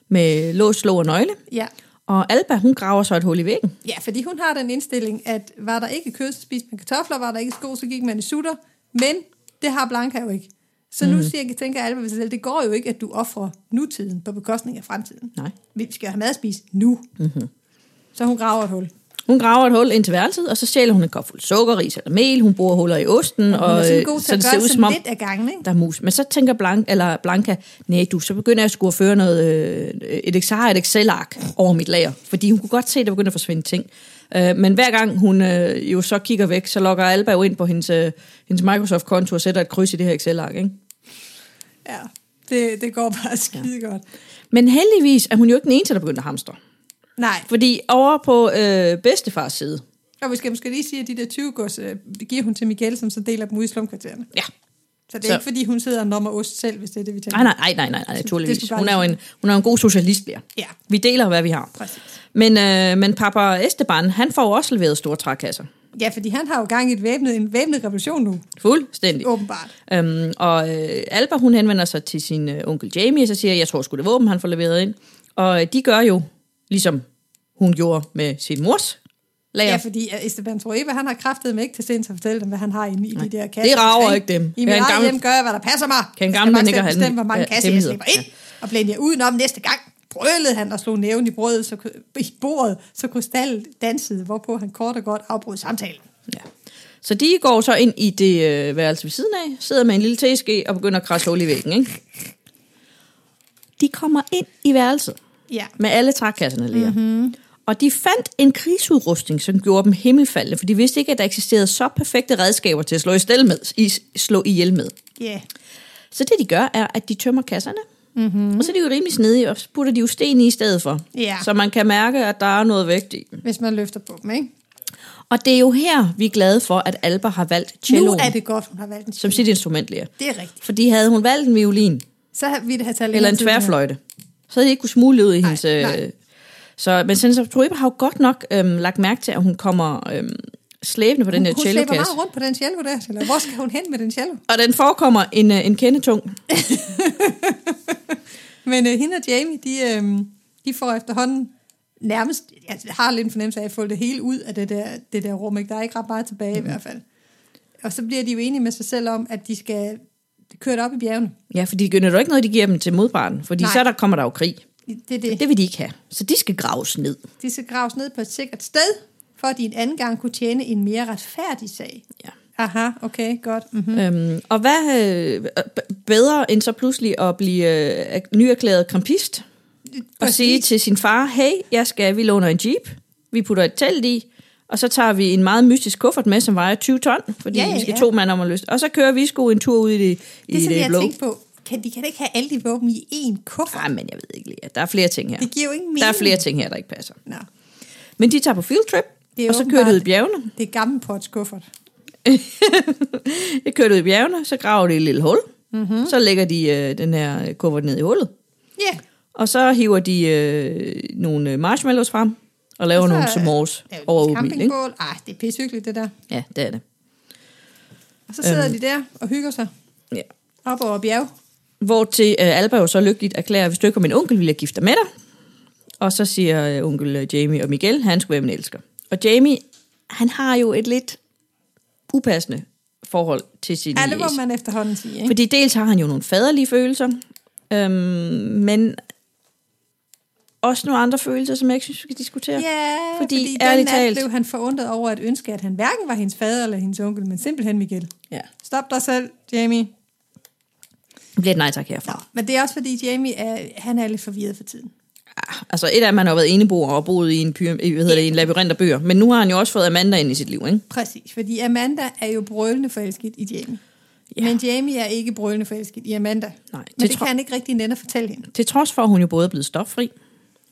Speaker 2: med lås, låg og nøgle.
Speaker 1: Ja.
Speaker 2: Og Alba, hun graver så et hul i væggen.
Speaker 1: ja, fordi hun har den indstilling, at var der ikke kød, så spiste man kartofler, var der ikke sko, så gik man i sutter, men det har Blanca jo ikke. Så nu siger, tænker Alba ved sig selv, det går jo ikke, at du offrer nutiden på bekostning af fremtiden.
Speaker 2: Nej.
Speaker 1: Vi skal jo have mad at spise nu. Mm-hmm. Så hun graver et hul.
Speaker 2: Hun graver et hul ind til værelset, og så stjæler hun en kop fuld sukker, ris eller mel. Hun bruger huller i osten,
Speaker 1: Hun er
Speaker 2: og
Speaker 1: sådan
Speaker 2: øh,
Speaker 1: god til
Speaker 2: så
Speaker 1: at
Speaker 2: det
Speaker 1: gøre
Speaker 2: ser ud som om,
Speaker 1: lidt af gangen, ikke?
Speaker 2: der er mus. Men så tænker Blank, eller Blanca, nej du, så begynder jeg sgu at føre noget, øh, et, ex- jeg har et Excel-ark over mit lager. Fordi hun kunne godt se, at der begyndte at forsvinde ting. Øh, men hver gang hun øh, jo så kigger væk, så logger Alba jo ind på hendes, øh, hendes Microsoft-konto og sætter et kryds i det her Excel-ark. Ikke?
Speaker 1: Ja, det, det går bare skide ja. godt.
Speaker 2: Men heldigvis er hun jo ikke den eneste, der begynder at hamstre.
Speaker 1: Nej,
Speaker 2: Fordi over på øh, bedstefars side,
Speaker 1: og vi skal måske lige sige, at de der 20 gods, øh, det giver hun til Miguel, som så deler dem ud i slumkvartererne.
Speaker 2: ja,
Speaker 1: Så det er
Speaker 2: Så-
Speaker 1: så. ikke, fordi hun sidder og nommer ost selv, hvis det er det, vi tænker.
Speaker 2: Nej, nej, nej, nej, nej, nej
Speaker 1: det
Speaker 2: naturligvis.
Speaker 1: skulle bare
Speaker 2: Hun er jo
Speaker 1: lige-
Speaker 2: en, hun er jo en god socialist, der.
Speaker 1: Ja.
Speaker 2: Vi deler, hvad vi har.
Speaker 1: Præcis.
Speaker 2: Men, øh, men papa Esteban, han får jo også leveret store trækasser.
Speaker 1: Ja, fordi han har jo gang i et væbnet, en væbnet revolution nu,
Speaker 2: Fuldstændig.
Speaker 1: åbenbart.
Speaker 2: Øhm, og øh, Alba, hun henvender sig til sin øh, onkel Jamie, og så siger, jeg tror sgu det er våben, han får leveret ind. Og øh, de gør jo, ligesom hun gjorde med sin mors
Speaker 1: Ja,
Speaker 2: lager.
Speaker 1: ja fordi øh, Esteban Trueba, han har kraftet mig ikke til sinds at fortælle dem, hvad han har inde i de der kasser.
Speaker 2: Det rager
Speaker 1: Så,
Speaker 2: ikke dem.
Speaker 1: I
Speaker 2: Jeg
Speaker 1: min
Speaker 2: er en
Speaker 1: egen
Speaker 2: gammel-
Speaker 1: hjem gør jeg, hvad der passer mig.
Speaker 2: Kan
Speaker 1: Jeg skal
Speaker 2: en gammel
Speaker 1: bare
Speaker 2: ikke
Speaker 1: selv
Speaker 2: have en-
Speaker 1: bestemme, hvor mange
Speaker 2: ja,
Speaker 1: kasser jeg
Speaker 2: hemmeligheder.
Speaker 1: slipper ind, og blande jer udenom næste gang. Brølede han og slog næven i, brødet, så, i bordet, så krystal dansede, hvorpå han kort og godt afbrød samtalen.
Speaker 2: Ja. Så de går så ind i det øh, værelse ved siden af, sidder med en lille teske og begynder at krasse hul i væggen. Ikke? De kommer ind i værelset
Speaker 1: Ja.
Speaker 2: med alle trækasserne læger. Mm-hmm. Og de fandt en krigsudrustning, som gjorde dem himmelfaldende, for de vidste ikke, at der eksisterede så perfekte redskaber til at slå, i stel med, i, slå ihjel med.
Speaker 1: Ja. Yeah.
Speaker 2: Så det, de gør, er, at de tømmer kasserne. Mm-hmm. Og så er de jo rimelig snedige, og så putter de jo sten i i stedet for.
Speaker 1: Ja.
Speaker 2: Så man kan mærke, at der er noget vægt i.
Speaker 1: Hvis man løfter på dem, ikke?
Speaker 2: Og det er jo her, vi er glade for, at Alba har valgt celloen
Speaker 1: Nu er det godt, hun har valgt en
Speaker 2: som sit instrument, Lea.
Speaker 1: Det er rigtigt.
Speaker 2: Fordi havde hun valgt en violin
Speaker 1: Så har vi det her tal.
Speaker 2: eller en tværfløjte, så havde jeg ikke kunne smule ud i hendes...
Speaker 1: nej.
Speaker 2: Øh, så, men Sensor Trueba har jo godt nok øhm, lagt mærke til, at hun kommer øhm, slæbende på den her
Speaker 1: Hun slæber
Speaker 2: cellokasse.
Speaker 1: meget rundt på den cello der. Eller hvor skal hun hen med den cello?
Speaker 2: Og den forekommer en, øh, en kendetung.
Speaker 1: Men øh, hende og Jamie, de, øh, de får efterhånden nærmest, jeg har lidt en fornemmelse af at få det hele ud af det der, det der rum. Ikke? Der er ikke ret meget tilbage mm. i
Speaker 2: Mm-hmm.
Speaker 1: hvert fald. Og så bliver de jo enige med sig selv om, at de skal køre det op i bjergene.
Speaker 2: Ja, fordi det er jo ikke noget, de giver dem til modparten, fordi
Speaker 1: Nej.
Speaker 2: Nej. så der kommer der jo krig.
Speaker 1: Det er det.
Speaker 2: Det vil de ikke have. Så de skal graves ned.
Speaker 1: De skal graves ned på et sikkert sted, for at de en anden gang kunne tjene en mere retfærdig sag.
Speaker 2: Ja.
Speaker 1: Aha, okay, godt. Mm-hmm.
Speaker 2: Øhm, og hvad øh, b- bedre end så pludselig at blive øh, nyerklæret kampist og sige til sin far, hey, jeg skal, vi låner en jeep, vi putter et telt i, og så tager vi en meget mystisk kuffert med, som vejer 20 ton, fordi
Speaker 1: Ja,
Speaker 2: ja,
Speaker 1: ja,
Speaker 2: ja, vi skal
Speaker 1: ja.
Speaker 2: to mand om at løse. Og så kører vi sgu en tur ud i det,
Speaker 1: Det er
Speaker 2: i
Speaker 1: sådan,
Speaker 2: det
Speaker 1: jeg
Speaker 2: blå.
Speaker 1: tænkte på. Kan, de kan da ikke have alle de våben i én kuffert.
Speaker 2: Ej, men jeg ved ikke lige. Der er flere ting her.
Speaker 1: Det giver jo ingen mening.
Speaker 2: Der er flere ting her, der ikke passer.
Speaker 1: Nå,
Speaker 2: Men de tager på fieldtrip,
Speaker 1: Det er
Speaker 2: og så kører
Speaker 1: åbenbart-
Speaker 2: de ud i bjergene.
Speaker 1: det er gammel pots kuffert.
Speaker 2: De kører ud i bjergene, så graver de et lille hul.
Speaker 1: Mhm.
Speaker 2: Mm-hmm. Så lægger de øh, den her øh, kuffert ned i hullet.
Speaker 1: Ja, yeah.
Speaker 2: Og så hiver de øh, nogle øh, marshmallows frem og laver
Speaker 1: Og
Speaker 2: og
Speaker 1: så,
Speaker 2: nogle
Speaker 1: øh,
Speaker 2: s'mores
Speaker 1: det er
Speaker 2: over
Speaker 1: jo et
Speaker 2: åben ild, ikke?
Speaker 1: campingbål. Ej, det er pissehyggeligt, det der.
Speaker 2: Ja, det er det.
Speaker 1: Og så sidder de der og hygger sig
Speaker 2: Øhm. Ja.
Speaker 1: op over bjerg.
Speaker 2: Hvor til øh, Alba jo så lykkeligt erklærer, hvis du ikke var min onkel, ville jeg gifte dig med dig. Og så siger øh, onkel øh, Jamie og Miguel, han skulle være min elsker. Og Jamie, han har jo et lidt upassende forhold til sin
Speaker 1: Ja, det må
Speaker 2: niece.
Speaker 1: man efterhånden sige, ikke?
Speaker 2: Fordi dels har han jo nogle faderlige følelser, øhm, men også nogle andre følelser, som jeg ikke synes, vi skal diskutere.
Speaker 1: Ja, fordi,
Speaker 2: Fordi,
Speaker 1: fordi den
Speaker 2: ærligt
Speaker 1: nat
Speaker 2: talt-
Speaker 1: blev han forundret over at ønske, at han hverken var hendes fader eller hendes onkel, men simpelthen Miguel.
Speaker 2: ja.
Speaker 1: Stop dig selv, Jamie.
Speaker 2: Det bliver et nej tak herfra.
Speaker 1: Nå, men det er også fordi Jamie er, han er lidt forvirret for tiden.
Speaker 2: Ah, Altså et af dem, han har været eneboer og boet i en, pyram- i, hvad hedder det, en labyrint af bøger. Men nu har han jo også fået Amanda ind i sit liv, ikke?
Speaker 1: Præcis, fordi Amanda er jo brølende forelsket i Jamie. Ja.
Speaker 2: Ja.
Speaker 1: Men Jamie er ikke brølende forelsket i Amanda.
Speaker 2: Nej,
Speaker 1: Men
Speaker 2: det
Speaker 1: det, det
Speaker 2: tror-
Speaker 1: kan han ikke rigtig nænde at fortælle hende.
Speaker 2: Til trods for, at hun jo både er blevet stoffri,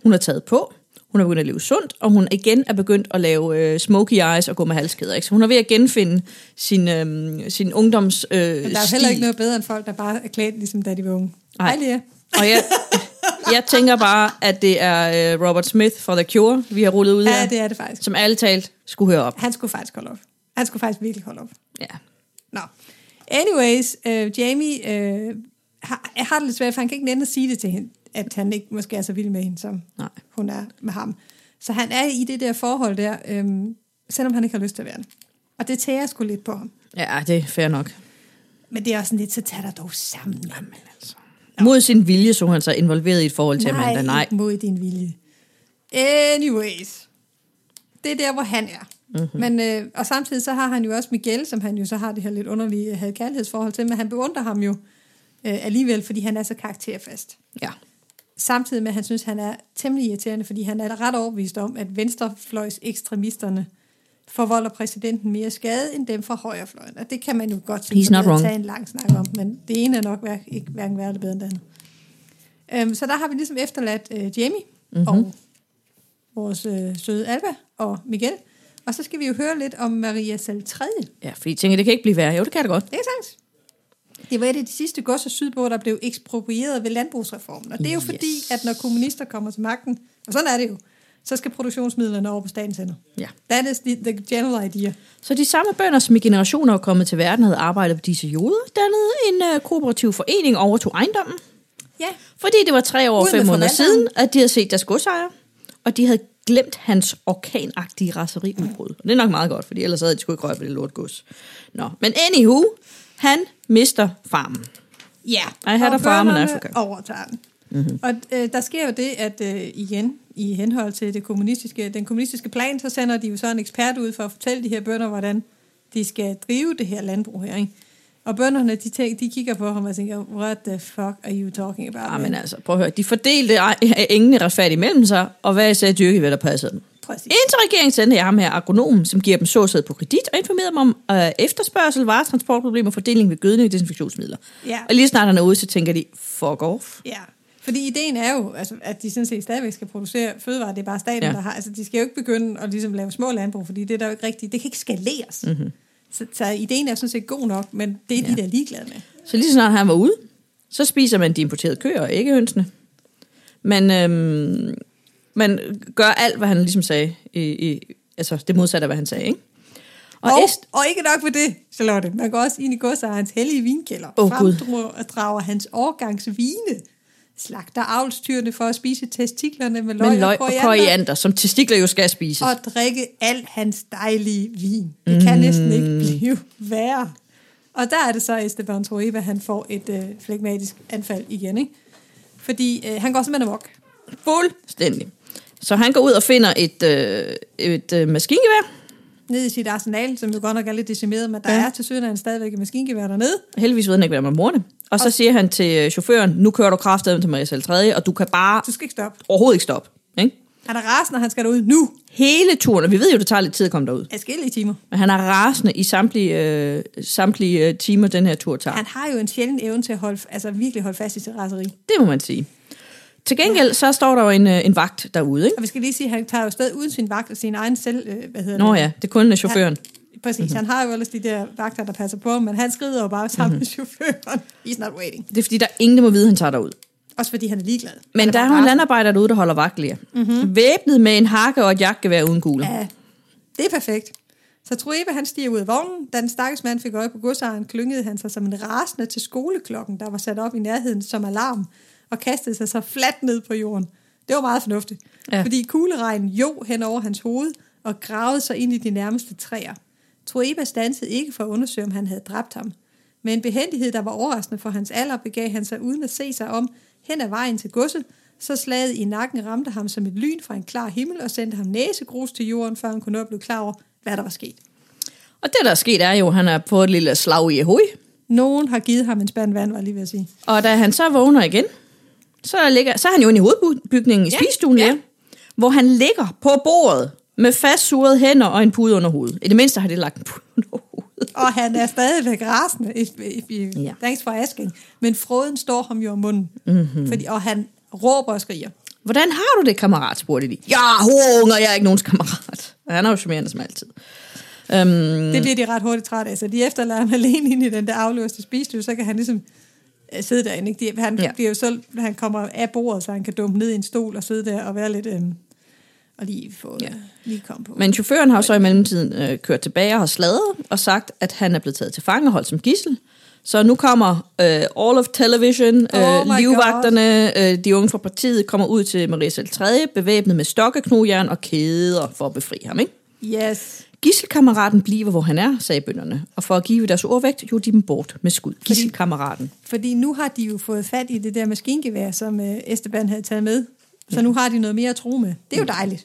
Speaker 2: hun har taget på, hun er begyndt at leve sundt, og hun igen er begyndt at lave øh, smoky eyes og gå med halskæder. Ikke? Så hun er ved at genfinde sin, øh, sin ungdoms øh,
Speaker 1: Men der er jo heller ikke noget bedre end folk, der bare er klædt, ligesom da de var unge.
Speaker 2: Nej.
Speaker 1: Hej, Lea.
Speaker 2: Og jeg, jeg tænker bare, at det er øh, Robert Smith fra The Cure, vi har rullet ud
Speaker 1: Ja,
Speaker 2: af,
Speaker 1: det er det faktisk.
Speaker 2: som alle talt skulle høre op.
Speaker 1: Han skulle faktisk holde op. Han skulle faktisk virkelig holde op.
Speaker 2: Ja.
Speaker 1: Nå. Anyways, øh, Jamie øh, har, har det lidt svært, for han kan ikke nænde at sige det til hende, at han ikke måske er så vild med hende, som
Speaker 2: Nej.
Speaker 1: hun er med ham. Så han er i det der forhold der, øh, selvom han ikke har lyst til at være det. Og det tager jeg sgu lidt på ham.
Speaker 2: ja, det er fair nok.
Speaker 1: Men det er også sådan lidt, så tag dig dog sammen. Jamen, altså.
Speaker 2: Mod sin vilje så er han sig involveret i et forhold til
Speaker 1: Nej,
Speaker 2: Amanda. Nej,
Speaker 1: ikke mod din vilje. Anyways. Det er der, hvor han er.
Speaker 2: Mhm.
Speaker 1: Mm-hmm. Men, øh, og samtidig så har han jo også Miguel, som han jo så har det her lidt underlige øh, havde kærlighedsforhold til, men han beundrer ham jo øh, alligevel, fordi han er så karakterfast.
Speaker 2: ja.
Speaker 1: Samtidig med, at han synes, han er temmelig irriterende, fordi han er ret overbevist om, at venstrefløjs ekstremisterne forvolder præsidenten mere skade, end dem fra højrefløjen. Og det kan man jo godt
Speaker 2: He's
Speaker 1: sådan
Speaker 2: not
Speaker 1: at
Speaker 2: wrong.
Speaker 1: tage en lang snak om, men det ene er nok hver, ikke hverken værre eller bedre end det andet. Øhm, så der har vi ligesom efterladt øh, Jamie
Speaker 2: Mhm.
Speaker 1: mm-hmm. og vores øh, søde Alba og Miguel. Og så skal vi jo høre lidt om Maria Sal 3. Det
Speaker 2: ja, fordi jeg tænker, det kan ikke blive værre. Jo, det kan det godt.
Speaker 1: er sandt. Det var et af de sidste godser sydpå, der blev eksproprieret ved landbrugsreformen. Og det er jo yes.
Speaker 2: Yes.
Speaker 1: fordi, at når kommunister kommer til magten, og sådan er det jo, så skal produktionsmidlerne over på statens hænder.
Speaker 2: Ja.
Speaker 1: That is the, the general idea.
Speaker 2: Så de samme bønder, som i generationer var kommet til verden, havde arbejdet på disse joder, dannede en øh, kooperativ forening og overtog ejendommen.
Speaker 1: Ja,
Speaker 2: Fordi det var tre år
Speaker 1: Ud
Speaker 2: og
Speaker 1: med
Speaker 2: fem måneder
Speaker 1: forvalteren.
Speaker 2: siden, at de havde set deres godsejer, og de havde glemt hans orkanagtige raseriudbrud. Og det er nok meget godt, for ellers havde de sgu ikke røget på det lort gods. Nå, men anywho, han mister farmen.
Speaker 1: Ja,
Speaker 2: I had a farm in Africa.
Speaker 1: overtager den. Mm-hmm. Og øh, der sker jo det, at øh, igen, i henhold til det kommunistiske, den kommunistiske plan, så sender de jo så en ekspert ud for at fortælle de her bønder, hvordan de skal drive det her landbrug her, ikke? Og bønderne, de, tænker, de kigger på ham og tænker, what the fuck are you talking about?
Speaker 2: Ah,
Speaker 1: man?"
Speaker 2: men altså, prøv at høre. De fordelte ej- engene retfærdigt imellem sig, og hvad sagde dyrke, hvad der passede dem.
Speaker 1: Præcis.
Speaker 2: Indtil regeringen sendte jeg ham her agronomen, som giver dem såsæd på kredit, og informerer dem om øh, efterspørgsel, varetransportproblemer, fordeling ved gødning og desinfektionsmidler.
Speaker 1: Ja.
Speaker 2: Og lige snart han er ude, så tænker de, fuck off.
Speaker 1: Ja. Fordi ideen er jo, altså, at de sådan set stadigvæk skal producere fødevarer, det er bare staten,
Speaker 2: Ja.
Speaker 1: ja. der har. Altså, de skal jo ikke begynde at ligesom, lave små landbrug, fordi det er der jo ikke rigtigt. Det kan ikke skaleres. Mm-hmm.
Speaker 2: Mhm.
Speaker 1: Så, så ideen er sådan set god nok, men det er ja. de, der er ligeglade med.
Speaker 2: Så lige så snart han var ude, så spiser man de importerede køer og ikke hønsene. Man, øhm, man gør alt, hvad han ligesom sagde. I, i, altså det modsatte af, hvad han sagde, ikke? Og,
Speaker 1: Og, og,
Speaker 2: Est-
Speaker 1: og ikke nok med det, Charlotte. Man går også ind i godsejerens hellige vinkælder.
Speaker 2: Åh, Gud.
Speaker 1: Fremdrager hans årgangsvine. Slagter avlstyrene for at spise testiklerne med løg,
Speaker 2: men løg og koriander, som testikler jo skal spises.
Speaker 1: Og drikke al hans dejlige vin. Det kan næsten ikke blive værre. Og der er det så Esteban Trueba, han får et øh, flegmatisk anfald igen. Ikke? Fordi øh, han går simpelthen amok.
Speaker 2: Fuldstændig. Så han går ud og finder et, øh, et øh, maskingevær,
Speaker 1: Ned i sit arsenal, som jo godt nok er lidt decimeret, men der
Speaker 2: Ja.
Speaker 1: er til syden stadigvæk et maskingevær dernede.
Speaker 2: Heldigvis ved han ikke, hvad man morne. Og så siger han til øh, chaufføren, nu kører du kraftedeme til Maria Sal 3, og du kan bare
Speaker 1: Du skal ikke stoppe.
Speaker 2: overhovedet ikke stoppe. Ikke?
Speaker 1: Han er rasende, og han skal derud nu.
Speaker 2: Hele turen, og vi ved jo, det tager lidt tid at komme derud.
Speaker 1: Adskillige timer.
Speaker 2: Men han er rasende i samtlige, øh, samtlige øh, timer, den her tur tager.
Speaker 1: Han har jo en sjælden evne til at holde, altså virkelig holde fast i sit raseri.
Speaker 2: Det må man sige. Til gengæld, så står der jo en, øh, en vagt derude, ikke?
Speaker 1: Og vi skal lige sige, at han tager jo sted uden sin vagt og sin egen selv... Øh, hvad hedder
Speaker 2: Nå
Speaker 1: det?
Speaker 2: ja, det er kun øh, chaufføren.
Speaker 1: Præcis, mm-hmm. han har jo ellers de der vagter, der passer på ham, men han skrider jo bare sammen mm-hmm. med chaufføren. He's not waiting.
Speaker 2: Det er fordi, der er ingen, der må vide, at han tager derud.
Speaker 1: Også fordi han er ligeglad. Han
Speaker 2: Men der er
Speaker 1: bare
Speaker 2: nogle landarbejder derude, der holder vagt lige. Mm-hmm. Væbnet med en hakke og et jagtgevær uden kugler.
Speaker 1: rasende. Ja, det er perfekt. Så Trueba, han stiger ud af vognen. Da den stakkels mand fik øje på godsejeren, klyngede han sig som en rasende til skoleklokken, der var sat op i nærheden som alarm, og kastede sig så fladt ned på jorden. Det var meget fornuftigt,
Speaker 2: Ja.
Speaker 1: ja. fordi kugleregnen jo hen over hans hoved og gravede sig ind i de nærmeste træer. Trueba stansede ikke for at undersøge, om han havde dræbt ham. Med en behendighed, der var overraskende for hans alder, begav han sig uden at se sig om hen ad vejen til godset, så slaget i nakken ramte ham som et lyn fra en klar himmel og sendte ham næsegrus til jorden, før han kunne nå at blive klar over, hvad der var sket.
Speaker 2: Og det, der er sket, er jo, at han er på et lille slag i hovedet.
Speaker 1: Nogen har givet ham en spand vand, var jeg lige ved at sige.
Speaker 2: Og da han så vågner igen, så, ligger, så er han jo inde i hovedbygningen i
Speaker 1: Ja,
Speaker 2: spisestuen, ja.
Speaker 1: ja.
Speaker 2: Ja, hvor han ligger på bordet med fastsurede hænder og en pude under hovedet. I det mindste har de lagt en pude under hovedet.
Speaker 1: Og han er stadigvæk rasende. If, if you,
Speaker 2: Ja.
Speaker 1: ja. Thanks for asking. Men froden står ham jo om munden. Mm-hmm. Fordi, og han råber og skriger.
Speaker 2: Hvordan har du det, kammerat, spurgte de. Ja, hunger, jeg er ikke nogens kammerat. Og Han er jo charmerende som altid. Øhm,
Speaker 1: Mm. Det bliver de ret hurtigt trætte af. Så de efterlader ham alene ind i den der afløste spisestue, så kan han ligesom øh, sidde derinde. Ikke? De, han,
Speaker 2: Ja.
Speaker 1: ja. bliver jo selv, han kommer af bordet, så han kan dumpe ned i en stol og sidde der og være lidt... Øhm, og lige få
Speaker 2: Ja.
Speaker 1: ja. lige komme på.
Speaker 2: men chaufføren har jo så i mellemtiden øh, kørt tilbage og har sladret og sagt, at han er blevet taget til fange og holdt som gissel. Så nu kommer øh, All of Television, øh,
Speaker 1: Oh my
Speaker 2: livvagterne, øh, de unge fra partiet kommer ud til Maria Sal 3, bevæbnet med stokke, knogjern og kæder for at befri ham. Ikke?
Speaker 1: yes.
Speaker 2: Gisselkammeraten bliver, hvor han er, sagde bønderne. Og for at give deres ordvægt, gjorde de dem bort med skud. Gisselkammeraten.
Speaker 1: Fordi nu har de jo fået fat i det der maskingevær, som øh, Esteban havde taget med. Så nu har de noget mere at tro med. Det er jo dejligt.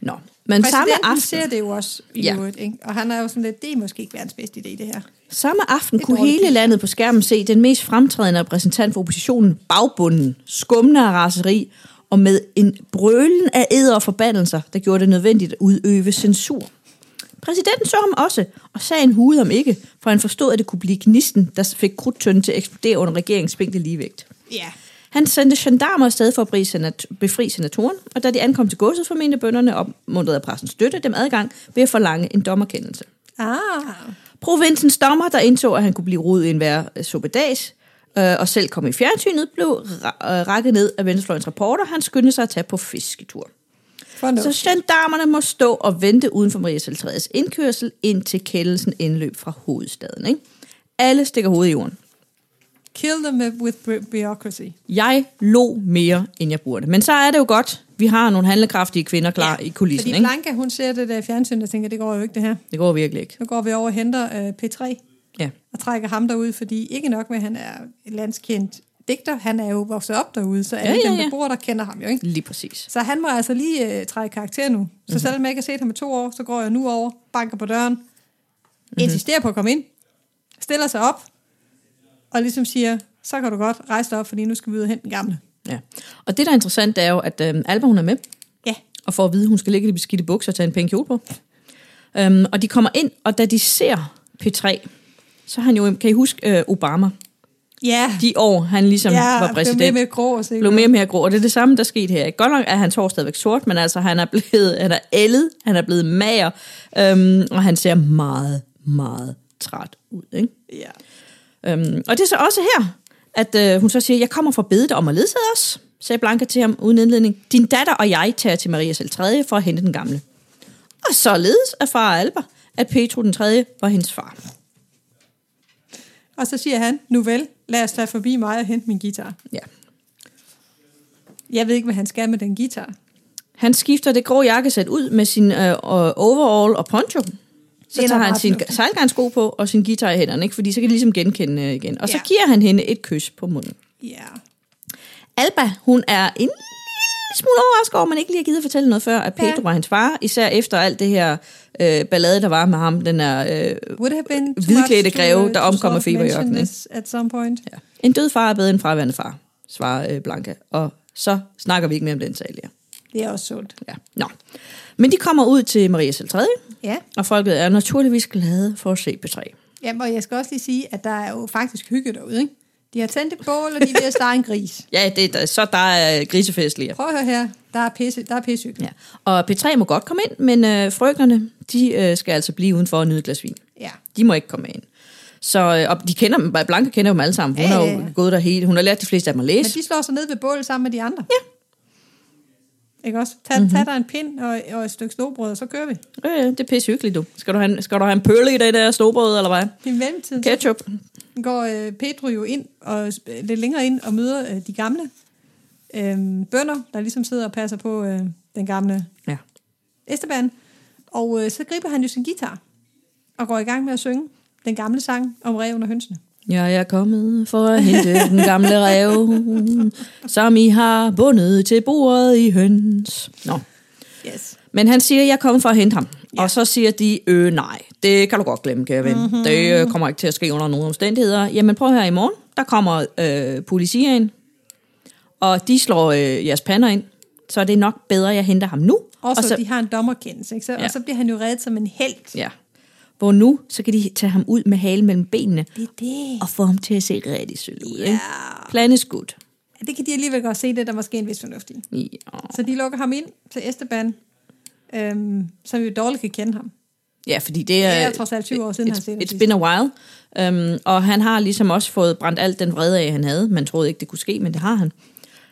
Speaker 2: Nå, men Mm. samme
Speaker 1: Præsidenten
Speaker 2: aften...
Speaker 1: ser det jo også i
Speaker 2: Ja.
Speaker 1: ja. øvrigt, ikke? og han er jo sådan lidt, det er måske ikke verdens bedste idé, det her.
Speaker 2: Samme aften
Speaker 1: er
Speaker 2: kunne
Speaker 1: dårligt.
Speaker 2: hele landet på skærmen se den mest fremtrædende repræsentant for oppositionen, bagbunden, skummende af raseri, og med en brølen af æder og forbandelser, der gjorde det nødvendigt at udøve censur. Præsidenten så ham også, og sagde en hude om ikke, for han forstod, at det kunne blive gnisten, der fik krudtønden til at eksplodere under regeringens spinkle ligevægt.
Speaker 1: Ja.
Speaker 2: Han sendte gendarmer afsted for at befri senat- befri senatoren, og da de ankom til godset, formentlig bønderne opmuntrede af pressens støtte dem adgang ved at forlange en dommerkendelse.
Speaker 1: Ah,
Speaker 2: Provinsens dommer, der indså, at han kunne blive rodet i en værre suppedags, øh, og selv kom i fjernsynet, blev ra- øh, rakket ned af venstrefløjens reporter. Han skyndte sig at tage på fisketur.
Speaker 1: for
Speaker 2: Så
Speaker 1: så...
Speaker 2: gendarmerne må stå og vente uden for Maria Saltrædes indkørsel, indtil kendelsen indløb fra hovedstaden. Ikke? Alle stikker hovedet i jorden.
Speaker 1: Kill them with bu- bureaucracy.
Speaker 2: Jeg lå mere, end jeg burde. Men så er det jo godt, vi har nogle handlekraftige kvinder klar ja, i kulissen.
Speaker 1: Fordi
Speaker 2: Ikke?
Speaker 1: Blanca, hun ser det der i fjernsynet og tænker, det går jo ikke det her.
Speaker 2: Det går virkelig ikke.
Speaker 1: Nu går vi over og henter øh, P3
Speaker 2: Ja.
Speaker 1: og trækker ham derud, fordi ikke nok med, at han er et landskendt digter, han er jo vokset op derude, så alle
Speaker 2: Ja,
Speaker 1: ja,
Speaker 2: ja,
Speaker 1: ja, dem,
Speaker 2: ja.
Speaker 1: der bor der, kender ham jo, ikke?
Speaker 2: Lige præcis.
Speaker 1: Så han må altså lige øh, træde karakter nu. Så
Speaker 2: Mhm.
Speaker 1: mm-hmm. selvom jeg ikke har set ham i to år, så går jeg nu over, banker på døren, mm-hmm.
Speaker 2: Mhm.
Speaker 1: insisterer på at komme ind, stiller sig op, og ligesom siger, så kan du godt rejse dig op, fordi nu skal vi ud og hente den gamle.
Speaker 2: Ja. Og det, der er interessant, det er jo, at øh, Alba hun er med.
Speaker 1: Ja.
Speaker 2: og får at vide, at hun skal ligge i de beskidte bukser og tage en pæn kjole på. Øhm, og de kommer ind, og da de ser P3, så er han jo, kan I huske øh, Obama?
Speaker 1: Ja,
Speaker 2: de år, han ligesom
Speaker 1: ja
Speaker 2: ja, var præsident.
Speaker 1: blev med med grå og sikkert.
Speaker 2: blev mere og mere grå, og det er det samme, der skete her. Godt nok er hans hår stadigvæk sort, men altså, han er blevet, han er ældet, han er blevet mager, øhm, og han ser meget, meget træt ud, ikke?
Speaker 1: Ja.
Speaker 2: Øhm, og det er så også her, at øh, hun så siger, jeg kommer for at bede dig om at ledsage os, sagde Blanca til ham uden indledning. Din datter og jeg tager til Maria selv 3. for at hente den gamle. Og således er far Alba, at Petro den 3. var hendes far.
Speaker 1: Og så siger han, nu vel, lad os tage forbi mig og hente min guitar.
Speaker 2: Ja.
Speaker 1: Jeg ved ikke, hvad han skal med den guitar.
Speaker 2: Han skifter det grå jakkesæt ud med sin øh, øh, overall og poncho. Så
Speaker 1: Det er
Speaker 2: tager
Speaker 1: nok
Speaker 2: han
Speaker 1: ret
Speaker 2: sin
Speaker 1: fornuftigt.
Speaker 2: sejlgarnsko på og sin guitar i hænderne, ikke? fordi så kan de ligesom genkende øh, igen. Og så
Speaker 1: Ja.
Speaker 2: giver han hende et kys på munden.
Speaker 1: Ja.
Speaker 2: Alba, hun er en lille smule overrasket over, at man ikke lige har givet at fortælle noget før, at Pedro
Speaker 1: Ja.
Speaker 2: ja. var hans far, især efter alt det her øh, ballade, der var med ham, den er øh,
Speaker 1: Would have been too
Speaker 2: Hvidklædte
Speaker 1: much to,
Speaker 2: greve,
Speaker 1: uh,
Speaker 2: der
Speaker 1: to
Speaker 2: omkommer
Speaker 1: sort of
Speaker 2: feberjørken,
Speaker 1: mention
Speaker 2: ikke?
Speaker 1: this At some point.
Speaker 2: Ja. En død far er bedre end fraværende far, svarer øh, Blanca. Og så snakker vi ikke mere om den sag, Lea.
Speaker 1: Det er også sundt.
Speaker 2: Ja. Nå. Men de kommer ud til Maria selv 3.
Speaker 1: Ja.
Speaker 2: og folket er naturligvis glade for at se B3.
Speaker 1: Jamen, og jeg skal også lige sige, at der er jo faktisk hygge derude, ikke? De har tændt et bål, og de er ved at starte en gris.
Speaker 2: Ja, det er, så der er grisefest lige.
Speaker 1: Prøv at høre her. Der er pisse, der er pisse
Speaker 2: Ja. Og P3 må godt komme ind, men øh, frøkerne, de øh, skal altså blive udenfor og nyde et glas vin.
Speaker 1: ja.
Speaker 2: De må ikke komme ind. Så, øh, og de kender dem, Blanca kender dem alle sammen. Hun
Speaker 1: Ja,
Speaker 2: har
Speaker 1: ja,
Speaker 2: jo
Speaker 1: ja.
Speaker 2: gået der hele, hun har lært de fleste af dem at
Speaker 1: Men
Speaker 2: læse.
Speaker 1: de slår sig ned ved bålet sammen med de andre.
Speaker 2: Ja. Mhm.
Speaker 1: Ikke også? Tag, mm-hmm. tag dig en pind og, og et stykke snobrød, og så kører vi.
Speaker 2: Øh, ja, det er pisse hyggeligt, du. Skal du have en, skal du have en pølle i det der snobrød, eller hvad?
Speaker 1: I mellemtiden okay.
Speaker 2: Ketchup.
Speaker 1: går øh, Pedro jo ind, og sp- lidt længere ind, og møder øh, de gamle øh, bønder, der ligesom sidder og passer på øh, den gamle
Speaker 2: Ja.
Speaker 1: Esteban. Og øh, så griber han jo sin guitar, og går i gang med at synge den gamle sang om reven og hønsene.
Speaker 2: Jeg er kommet for at hente den gamle rev, som I har bundet til bordet i høns. Nå.
Speaker 1: Yes.
Speaker 2: Men han siger, at jeg er kommet for at hente ham. Ja. Og så siger de, øh nej, det kan du godt glemme, kære ven.
Speaker 1: Mhm.
Speaker 2: Mm-hmm. Det øh, kommer ikke til at ske under nogen omstændigheder. Jamen prøv her i morgen, der kommer øh, politiet ind, og de slår øh, jeres pander ind. Så det er nok bedre, at jeg henter ham nu.
Speaker 1: Og så,
Speaker 2: og så,
Speaker 1: de har en dommerkendelse, ikke? Så, ja.
Speaker 2: Ja.
Speaker 1: og så bliver han jo reddet som en held.
Speaker 2: ja. Hvor nu, så kan de tage ham ud med halen mellem benene,
Speaker 1: Det er det.
Speaker 2: og få ham til at se rigtig sød ud.
Speaker 1: Ja.
Speaker 2: Ikke? Plan is good.
Speaker 1: Det kan de alligevel godt se, det er der måske en vis fornuft i.
Speaker 2: Ja.
Speaker 1: Så de lukker ham ind til Esteban, øhm, som jo dårligt kan kende ham.
Speaker 2: Ja, fordi det er...
Speaker 1: Det er trods alt 20 år siden, han har
Speaker 2: it's,
Speaker 1: set ham
Speaker 2: It's
Speaker 1: sidst.
Speaker 2: been a while. Um, og han har ligesom også fået brændt alt den vrede af, han havde. Man troede ikke, det kunne ske, men det har han.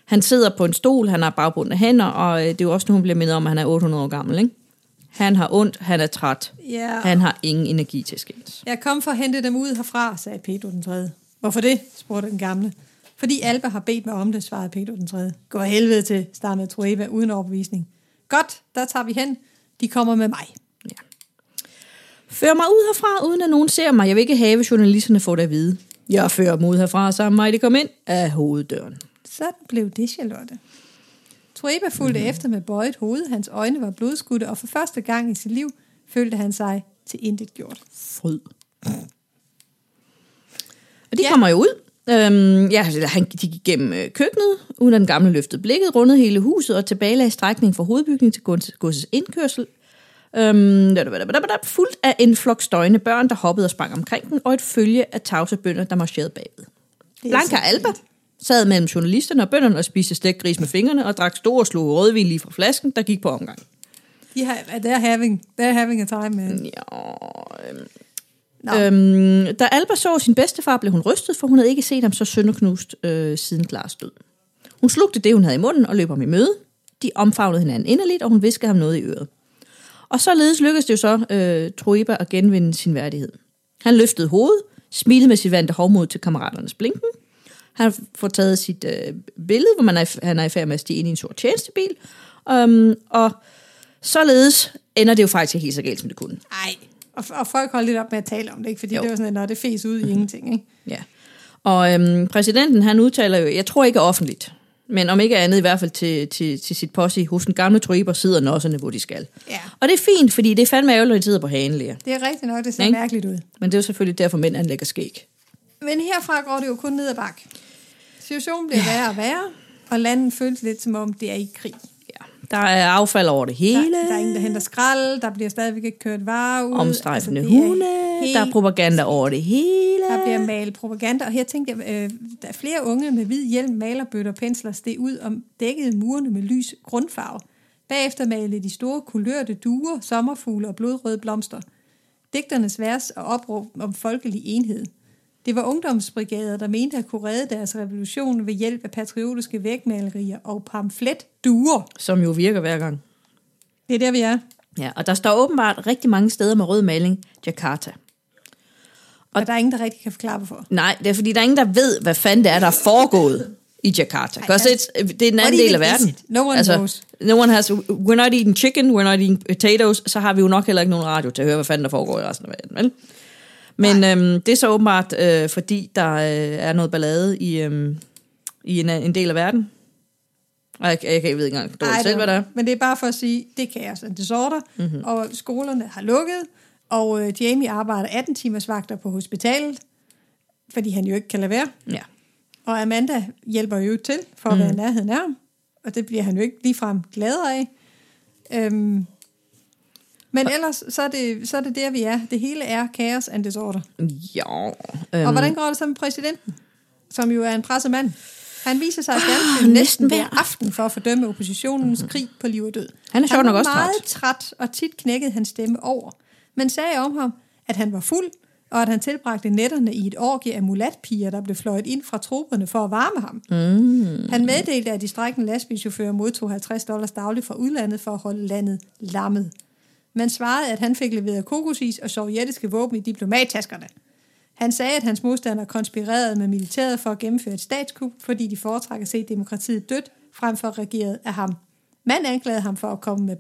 Speaker 2: Han sidder på en stol, han har bagbundne hænder, og øh, det er jo også nu, hun bliver mindet om, at han er 800 år gammel, ikke? Han har ondt, han er træt.
Speaker 1: Ja.
Speaker 2: Han har ingen energi til skændes.
Speaker 1: Jeg kom for at hente dem ud herfra, sagde Pedro den 3. Hvorfor det? spurgte den gamle. Fordi Alba har bedt mig om det, svarede Pedro den 3. Gå af helvede til, stammede Trueba uden overbevisning. Godt, der tager vi hen. De kommer med mig.
Speaker 2: Før mig ud herfra, uden at nogen ser mig. Jeg vil ikke have, at journalisterne får det at vide. Jeg fører dem ud herfra, sammen med mig, de kom ind af hoveddøren.
Speaker 1: Sådan blev det, Charlotte. Trueba fulgte mm-hmm. efter med bøjet hoved. Hans øjne var blodskudte, og for første gang i sit liv følte han sig til intet gjort.
Speaker 2: fryd. Og de
Speaker 1: Ja.
Speaker 2: ja. kommer jo ud. Øhm, ja, eller han, de gik gennem øh, køkkenet, uden at den gamle løftede blikket, rundede hele huset og tilbage lagde strækningen fra hovedbygningen til gods- godsets indkørsel. Øhm, da, da, da, da, da, da, fuldt af en flok støjende børn, der hoppede og sprang omkring den, og et følge af tavse bønder, der marcherede bagved.
Speaker 1: Det er
Speaker 2: Blanca
Speaker 1: så
Speaker 2: Alba sad mellem journalisterne og bønderne og spiste stegt gris med fingrene og drak stor og slog rødvin lige fra flasken, der gik på omgang.
Speaker 1: De har, they're having, they're having a time, man.
Speaker 2: Ja, øhm,
Speaker 1: Nå, øh,
Speaker 2: Øhm, da Alba så sin bedstefar, blev hun rystet, for hun havde ikke set ham så sønderknust øh, siden Klars død. Hun slugte det, hun havde i munden, og løb ham i møde. De omfavnede hinanden inderligt, og hun viskede ham noget i øret. Og således lykkedes det jo så øh, Troiba at genvinde sin værdighed. Han løftede hovedet, smilede med sit vante hovmod til kammeraternes blinken. Han får taget sit øh, billede, hvor man er, i f- han er i færd med at stige ind i en sort tjenestebil. Um, og således ender det jo faktisk ikke helt så galt, som det kunne.
Speaker 1: ej. Og, og folk holdt lidt op med at tale om det, ikke? fordi jo. Mhm.
Speaker 2: Jo.
Speaker 1: det var sådan, at "Nå, det fes ud i ingenting. Ikke?
Speaker 2: Ja. Og øhm, præsidenten, han udtaler jo, jeg tror ikke offentligt, men om ikke andet i hvert fald til, til, til sit posse, hos den gamle triber sidder nosserne, hvor de skal.
Speaker 1: Ja.
Speaker 2: Og det er fint, fordi det er fandme ærgerligt, at de sidder på hagen, Lea.
Speaker 1: Det er rigtigt nok, det ser
Speaker 2: Ikke?
Speaker 1: mærkeligt ud.
Speaker 2: Men det er jo selvfølgelig derfor, mænd anlægger skæg.
Speaker 1: Men herfra går det jo kun ned ad bak. Situationen bliver værre og værre, og landet føles lidt som om, det er i krig.
Speaker 2: Ja. Der er affald over det
Speaker 1: Der,
Speaker 2: hele,
Speaker 1: der er ingen, der henter skrald, der bliver stadigvæk ikke kørt varer ud. Altså,
Speaker 2: omstrejfende
Speaker 1: det er
Speaker 2: hunde,
Speaker 1: helt-
Speaker 2: der er propaganda over det hele.
Speaker 1: Der bliver malet propaganda, og her tænkte jeg, øh, der er flere unge med hvid hjelm, malerbøtter, pensler, steg ud og dækkede murene med lys grundfarve. Bagefter malede de store kulørte duer, sommerfugle og blodrøde blomster. Digternes vers og opråb om folkelig enhed. Det var ungdomsbrigader, der mente at kunne redde deres revolution ved hjælp af patriotiske vægmalerier og pamfletduer.
Speaker 2: Som jo virker hver gang.
Speaker 1: Det er der, vi er.
Speaker 2: Ja, og der står åbenbart rigtig mange steder med rød maling, Jakarta.
Speaker 1: Og, og der er ingen, der rigtig kan forklare, hvorfor.
Speaker 2: Nej, det er fordi, der er ingen, der ved, hvad fanden det er, der er foregået i Jakarta. Because
Speaker 1: altså,
Speaker 2: it's, det er den anden
Speaker 1: What
Speaker 2: del af
Speaker 1: even is
Speaker 2: verden. Altså,
Speaker 1: it? No one knows.
Speaker 2: No one has, we're not eating chicken, we're not eating potatoes, så har vi jo nok heller ikke nogen radio til at høre, hvad fanden der foregår i resten af verden, vel? Men øhm, det er så åbenbart, øh, fordi der øh, er noget ballade i, øhm, i en, øh, en del af verden. Og jeg, jeg, jeg ved ikke engang dårligt
Speaker 1: Ej,
Speaker 2: selv,
Speaker 1: det-
Speaker 2: hvad det er. Mhm.
Speaker 1: Men det er bare for at sige, det er kaos and disorder, mm-hmm. og skolerne har lukket, og øh, Jamie arbejder 18 timers vagter på hospitalet, fordi han jo ikke kan lade være.
Speaker 2: Ja.
Speaker 1: Og Amanda hjælper jo til for at
Speaker 2: Mhm.
Speaker 1: være i nærheden af ham, og det bliver han jo ikke ligefrem gladere af. Øhm, men ellers, så er, det, så er det der, vi er. Det hele er kaos and disorder.
Speaker 2: Ja.
Speaker 1: Øhm.
Speaker 2: Øhm,
Speaker 1: Og hvordan går det så med præsidenten, som jo er en pressemand? Han viser sig at fjernsynet næsten
Speaker 2: Ah, næsten
Speaker 1: hver
Speaker 2: hver
Speaker 1: aften for at fordømme oppositionens krig på liv og død.
Speaker 2: Han er sjovt nok også
Speaker 1: Han var meget træt, og tit knækkede han stemme over. Men sagde om ham, at han var fuld, og at han tilbragte netterne i et orgie af mulatpiger, der blev fløjet ind fra troberne for at varme ham. Mm. Han meddelte, at de strækkende lastbilchauffører modtog 50 dollars dagligt fra udlandet for at holde landet lammet. Man svarede, at han fik leveret kokosis og sovjetiske våben i diplomattaskerne. Han sagde, at hans modstandere konspirerede med militæret for at gennemføre et statskup, fordi de foretrækker at se demokratiet dødt, frem for regeret af ham. Man anklagede ham for at komme med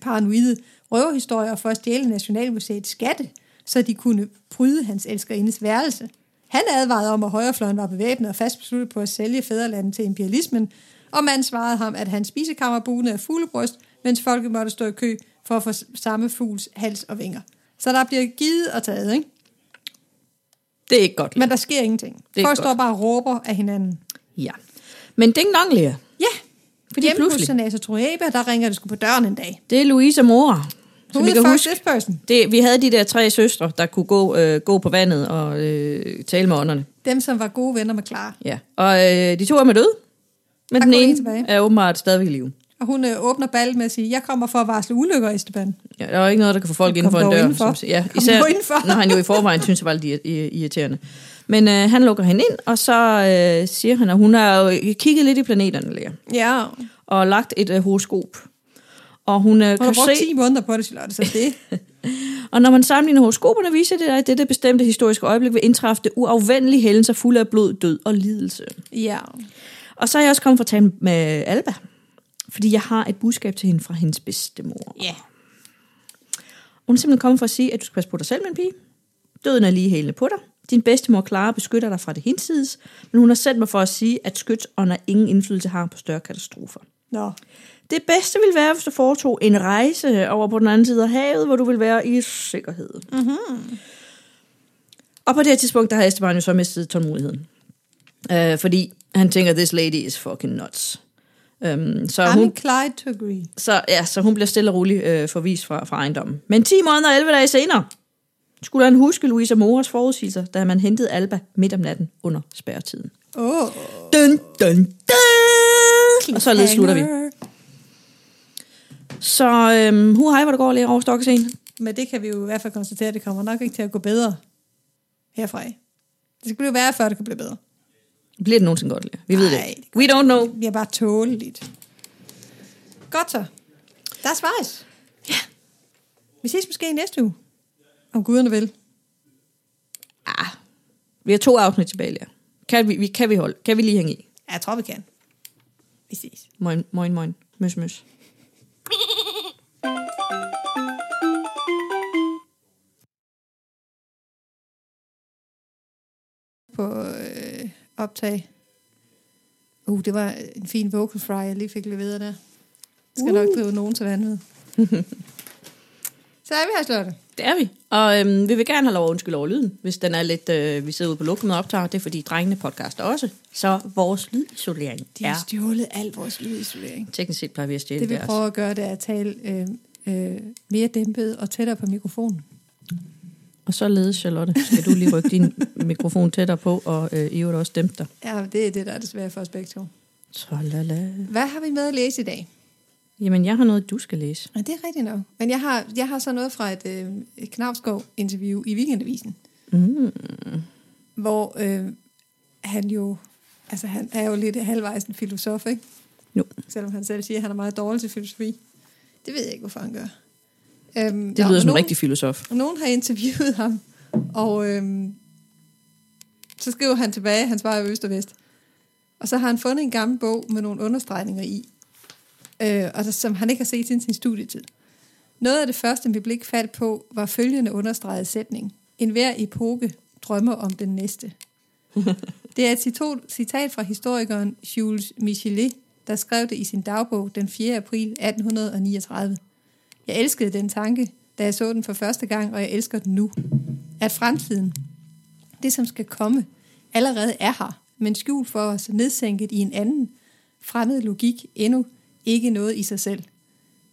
Speaker 1: paranoide røverhistorier og for at stjæle Nationalmuseets skatte, så de kunne pryde hans elskerindes værelse. Han advarede om, at højrefløjen var bevæbnet og fast besluttet på at sælge fædrelandet til imperialismen, og man svarede ham, at hans spisekammer bugnede af fuglebryst, mens folket måtte stå i kø for at få s- samme fugls hals og vinger. Så der bliver givet og taget, ikke?
Speaker 2: det er ikke godt.
Speaker 1: Men der sker ingenting.
Speaker 2: er
Speaker 1: Folk
Speaker 2: godt.
Speaker 1: står bare og råber af hinanden.
Speaker 2: Ja. Men ding dong, Lea.
Speaker 1: Ja, fordi
Speaker 2: Fordi
Speaker 1: hjemme pludselig. hos
Speaker 2: pludselig-
Speaker 1: Senator Trueba, der ringer det sgu på døren en dag.
Speaker 2: Det er Louise mor.
Speaker 1: Who
Speaker 2: Som I
Speaker 1: the
Speaker 2: kan
Speaker 1: fuck
Speaker 2: huske,
Speaker 1: this person?
Speaker 2: det, vi havde de der tre søstre, der kunne gå, øh, gå på vandet og øh, tale med ånderne.
Speaker 1: Dem, som var gode venner med Clara.
Speaker 2: Ja. Og øh, de to er med døde. Men
Speaker 1: Der
Speaker 2: den
Speaker 1: kom en
Speaker 2: ene
Speaker 1: tilbage.
Speaker 2: er åbenbart stadigvæk i live.
Speaker 1: Og hun øh, åbner ballet med at sige, jeg kommer for at varsle ulykker, Esteban.
Speaker 2: Ja, der er jo ikke noget, der kan få folk
Speaker 1: Kom
Speaker 2: inden for en
Speaker 1: dog
Speaker 2: dør.
Speaker 1: indenfor.
Speaker 2: Som, ja,
Speaker 1: Kom dog indenfor.
Speaker 2: når han jo i forvejen synes, at var lidt irri- irri- irriterende. Men øh, han lukker hende ind, og så øh, siger han, at hun har jo kigget lidt i planeterne, Lea,
Speaker 1: Ja.
Speaker 2: og lagt et øh, horoskop. Og hun
Speaker 1: Hun
Speaker 2: øh,
Speaker 1: har
Speaker 2: kan
Speaker 1: brugt
Speaker 2: se,
Speaker 1: 10 måneder på det, Charlotte, så det
Speaker 2: Og når man sammenligner horoskoperne, viser det, at dette bestemte historiske øjeblik vil indtræffe det uafvendelige hændelser fulde af blod, død og lidelse.
Speaker 1: ja.
Speaker 2: Og så er jeg også kommet for at tale med Alba, fordi jeg har et budskab til hende fra hendes bedstemor.
Speaker 1: Ja.
Speaker 2: Hun er simpelthen kommet for at sige, at du skal passe på dig selv, min pige. Døden er lige hælende på dig. Din bedstemor Clara beskytter dig fra det hinsides, men hun har sendt mig for at sige, at skytsånder ingen indflydelse har på større katastrofer.
Speaker 1: Nå.
Speaker 2: Det bedste ville være, hvis du foretog en rejse over på den anden side af havet, hvor du vil være i sikkerhed. Mm-hmm. Og på det her tidspunkt, der har Esteban jo så mistet tålmodigheden. Øh, fordi han tænker, this lady is fucking nuts. Øhm, så,
Speaker 1: I'm
Speaker 2: hun,
Speaker 1: inclined to agree.
Speaker 2: så, ja, så hun bliver stille og roligt øh, forvist fra, fra ejendommen. Men 10 måneder og 11 dage senere skulle han huske Louisa Moras forudsigelser, da man hentede Alba midt om natten under spærretiden.
Speaker 1: Åh. Oh.
Speaker 2: Dun, dun, dun! Og således slutter vi. Så øhm, hu hej, hvor det går lige over Stokkesen.
Speaker 1: Men det kan vi jo i hvert fald konstatere, at det kommer nok ikke til at gå bedre herfra. Det skal blive værre, før det kan blive bedre.
Speaker 2: Bliver det nogensinde godt, Lea? Vi ved det
Speaker 1: Ej,
Speaker 2: ikke. We don't know.
Speaker 1: Det bliver bare tåleligt. Godt så. Der er svejs. Ja. Vi ses måske i næste uge. Om guderne vil.
Speaker 2: Ah, vi har to afsnit tilbage, Lea. Kan vi, vi, kan vi holde? Kan vi lige hænge i?
Speaker 1: Ja, jeg tror, vi kan. Vi ses.
Speaker 2: Moin, moin, moin. Møs, møs.
Speaker 1: på øh, optag. Uh, det var en fin vocal fry, jeg lige fik leveret der. Jeg skal uh. nok drive nogen til vanvid. Så er vi her, Slotte.
Speaker 2: Det er vi. Og øhm, vi vil gerne have lov at undskylde over lyden, hvis den er lidt... Øh, vi sidder ude på lukket og optager. Det er fordi drengene podcaster også. Så vores lydisolering
Speaker 1: De
Speaker 2: er...
Speaker 1: har stjålet al vores lydisolering.
Speaker 2: Teknisk set plejer vi at stjæle
Speaker 1: Det vi
Speaker 2: deres.
Speaker 1: prøver at gøre, det er at tale øh, øh, mere dæmpet og tættere på mikrofonen.
Speaker 2: Og således, Charlotte, skal du lige rykke din mikrofon tættere på, og øh, i øvrigt også dæmpe dig.
Speaker 1: Ja, det er det, der er desværre for os begge to.
Speaker 2: Tralala.
Speaker 1: Hvad har vi med at læse i dag?
Speaker 2: Jamen, jeg har noget, du skal læse.
Speaker 1: Ja, det er rigtigt nok. Men jeg har, jeg har så noget fra et, øh, et Knavskov-interview i Weekendavisen,
Speaker 2: Mm.
Speaker 1: hvor øh, han jo... Altså, han er jo lidt halvvejs en filosof, ikke?
Speaker 2: Jo.
Speaker 1: Selvom han selv siger, at han er meget dårlig til filosofi. Det ved jeg ikke, hvorfor han gør. Øhm,
Speaker 2: Det lyder som en
Speaker 1: nogen,
Speaker 2: rigtig filosof.
Speaker 1: nogen har interviewet ham, og øhm, så skriver han tilbage, han svarer jo øst og vest. Og så har han fundet en gammel bog med nogle understregninger i, øh, og der, som han ikke har set siden sin studietid. Noget af det første, mit blik faldt på, var følgende understreget sætning. En hver epoke drømmer om den næste. Det er et citat, citat fra historikeren Jules Michelet, der skrev det i sin dagbog den 4. april 1839. Jeg elskede den tanke, da jeg så den for første gang, og jeg elsker den nu. At fremtiden, det som skal komme, allerede er her, men skjult for os, nedsænket i en anden, fremmed logik, endnu ikke noget i sig selv.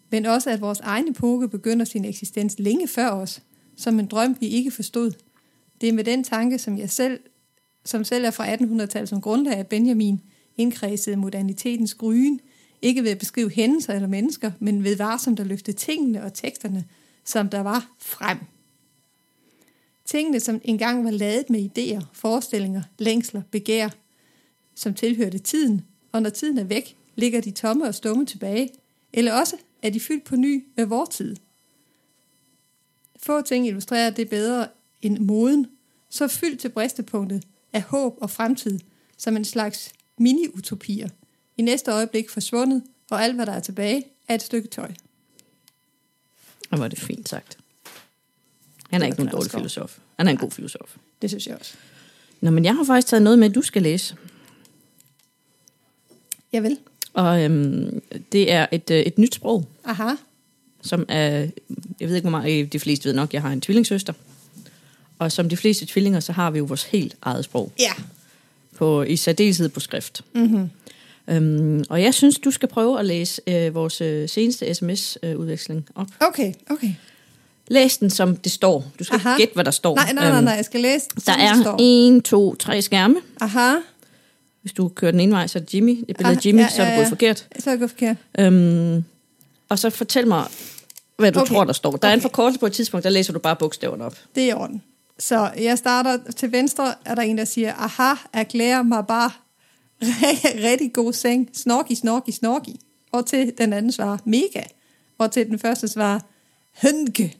Speaker 1: Men også, at vores egen epoke begynder sin eksistens længe før os, som en drøm, vi ikke forstod. Det er med den tanke, som jeg selv, som selv er fra 1800-tallet som grundlag af Benjamin, indkredsede modernitetens gryden, ikke ved at beskrive hændelser eller mennesker, men ved varsomt at løfte tingene og teksterne, som der var frem. Tingene, som engang var ladet med idéer, forestillinger, længsler, begær, som tilhørte tiden, og når tiden er væk, ligger de tomme og stumme tilbage, eller også er de fyldt på ny med vor tid. Få ting illustrerer det bedre end moden, så fyldt til bristepunktet af håb og fremtid, som en slags mini-utopier. I næste øjeblik forsvundet, og alt hvad der er tilbage er et stykke tøj.
Speaker 2: Og var det fint sagt. Han
Speaker 1: var
Speaker 2: er ikke nogen dårlig
Speaker 1: Knausgård.
Speaker 2: filosof. Han er en god filosof.
Speaker 1: Det synes jeg også.
Speaker 2: Nå, men jeg har faktisk taget noget med, du skal læse.
Speaker 1: Jeg vil.
Speaker 2: Og øhm, det er et, øh, et nyt sprog,
Speaker 1: Aha.
Speaker 2: som er, jeg ved ikke hvor meget, øh, de fleste ved nok, jeg har en tvillingssøster. Og som de fleste tvillinger, så har vi jo vores helt eget sprog.
Speaker 1: Ja.
Speaker 2: På, I særdeleshed på skrift. Mm-hmm. Øhm, og jeg synes, du skal prøve at læse øh, vores øh, seneste sms-udveksling øh, op.
Speaker 1: Okay, okay.
Speaker 2: Læs den, som det står. Du skal
Speaker 1: Aha.
Speaker 2: Aha. gætte, hvad der står.
Speaker 1: Nej, nej, nej, nej. Jeg skal læse.
Speaker 2: øhm, Der
Speaker 1: som det
Speaker 2: er
Speaker 1: står.
Speaker 2: en, to, tre skærme.
Speaker 1: Aha.
Speaker 2: Hvis du kører den ene vej, så er det Jimmy. Et billede af
Speaker 1: Ah,
Speaker 2: Jimmy,
Speaker 1: ja,
Speaker 2: ja, så er
Speaker 1: ja,
Speaker 2: det gået
Speaker 1: ja.
Speaker 2: forkert.
Speaker 1: Så er jeg gået forkert.
Speaker 2: Øhm, og så fortæl mig, hvad du
Speaker 1: Okay.
Speaker 2: okay. tror, der står. Der okay. er en
Speaker 1: Okay.
Speaker 2: forkortelse på et tidspunkt, der læser du bare bogstaverne op.
Speaker 1: Det er i orden. Så jeg starter til venstre, er der en, der siger, aha, erklærer mig bare rigtig god seng, snorki, snorki, snorki. Og til den anden svarer, mega. Og til den første svarer, hønke.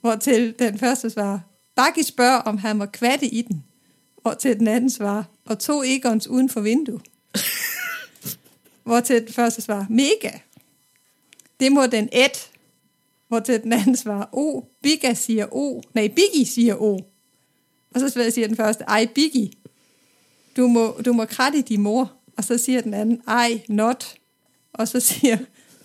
Speaker 1: Hvor til den første svarer, Bakki spørger, om han må kvatte i den. Og til den anden svarer, og to egons uden for vindue. Hvor til den første svarer, mega. Det må den et. Hvor til den anden svarer O. Bigga siger O. Nej, Biggie siger O. Og så siger den første, ej Biggie, du må, du må kratte din mor. Og så siger den anden, ej not. Og så siger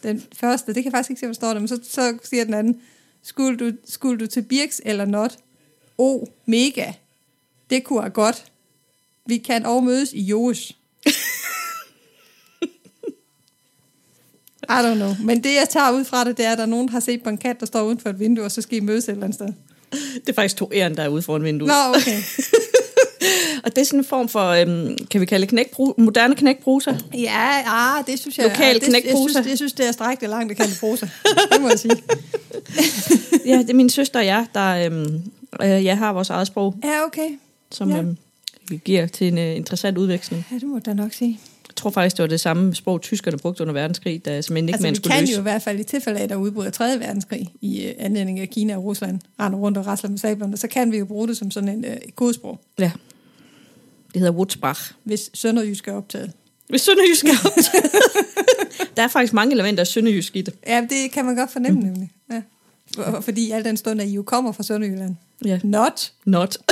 Speaker 1: den første, det kan jeg faktisk ikke se, hvor står det, men så, så siger den anden, skulle du, skulle du til Birks eller not? O, mega. Det kunne jeg godt. Vi kan også mødes i Joes. I don't know. Men det, jeg tager ud fra det, det er, at der er nogen, der har set på en kat, der står uden for et vindue, og så skal I mødes et eller andet sted.
Speaker 2: Det er faktisk to æren, der er ude foran vinduet.
Speaker 1: Nå, okay.
Speaker 2: Og det er sådan en form for, øhm, kan vi kalde det knækbru- moderne knækbruser?
Speaker 1: Ja, ah, det synes jeg...
Speaker 2: Lokal
Speaker 1: det, jeg,
Speaker 2: knækpose.
Speaker 1: synes, jeg synes, det er strækt det langt at kalde poser. Det må jeg sige.
Speaker 2: ja, det er min søster og jeg, der øhm, øh, jeg har vores eget sprog,
Speaker 1: Ja, okay.
Speaker 2: som
Speaker 1: Ja.
Speaker 2: ja. øhm, vi giver til en øh, interessant udveksling.
Speaker 1: Ja, det må du da nok sige.
Speaker 2: Jeg tror faktisk, det var det samme sprog, tyskerne brugte under verdenskrig, da som end ikke
Speaker 1: Altså,
Speaker 2: man
Speaker 1: vi
Speaker 2: skulle
Speaker 1: kan
Speaker 2: løse.
Speaker 1: jo i hvert fald i tilfælde af, at der udbryder 3. verdenskrig i øh, anledning af Kina og Rusland, render rundt og rasler med sablerne, så kan vi jo bruge det som sådan en øh, et kodesprog,
Speaker 2: Ja. Det hedder Wutzbach.
Speaker 1: hvis sønderjysk er optaget.
Speaker 2: Hvis Sønderjysk er optaget. der er faktisk mange elementer af Sønderjysk i det.
Speaker 1: Ja, det kan man godt fornemme
Speaker 2: Mm.
Speaker 1: nemlig. Ja. For- Fordi al den stund, at I jo kommer fra Sønderjylland.
Speaker 2: Ja.
Speaker 1: Not.
Speaker 2: Not.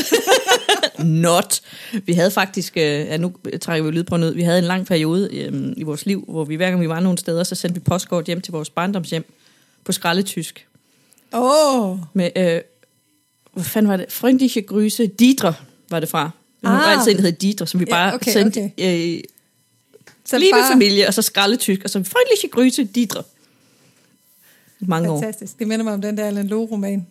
Speaker 2: Not. Vi havde faktisk, øh, ja, nu trækker vi lydbåndet ud, vi havde en lang periode øhm, i vores liv, hvor vi hver gang vi var nogle steder, så sendte vi postkort hjem til vores barndomshjem på skraldetysk.
Speaker 1: Åh, oh,
Speaker 2: Med, øh, hvad fanden var det? Frøndliche Gryse Didre var det fra. Men ah. var
Speaker 1: Ah.
Speaker 2: altid en, der hed Didre, som vi
Speaker 1: Ja,
Speaker 2: bare
Speaker 1: okay,
Speaker 2: sendte Øh,
Speaker 1: så
Speaker 2: lige med
Speaker 1: bare-
Speaker 2: familie, og så skraldetysk, og så Frøndliche Gryse Didre. Mange år.
Speaker 1: Fantastisk. Det minder mig om den der Allan Loe-roman.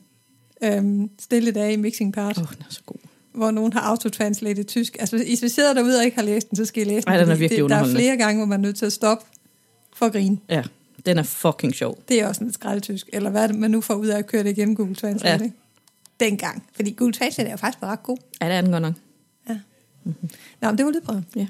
Speaker 1: øhm, Stille dage i Mixing Part,
Speaker 2: Åh,
Speaker 1: oh.
Speaker 2: oh, den er så god.
Speaker 1: hvor nogen har autotranslatet tysk. Altså, hvis- hvis I sidder derude og ikke har læst den, så skal I læse den.
Speaker 2: Ej, den er
Speaker 1: fordi
Speaker 2: virkelig
Speaker 1: det, Der er
Speaker 2: underholdende.
Speaker 1: flere gange, hvor man er nødt til at stoppe for at grine.
Speaker 2: Ja, den er fucking sjov.
Speaker 1: Det er også lidt skraldtysk. Eller hvad er det, man nu får ud af at køre det igennem Google Translate,
Speaker 2: Ja.
Speaker 1: ja. ikke? Dengang. Fordi Google Translate er jo faktisk ret god.
Speaker 2: Ja, det er den godt nok.
Speaker 1: Nå, men det var lydprøven.
Speaker 2: Ja.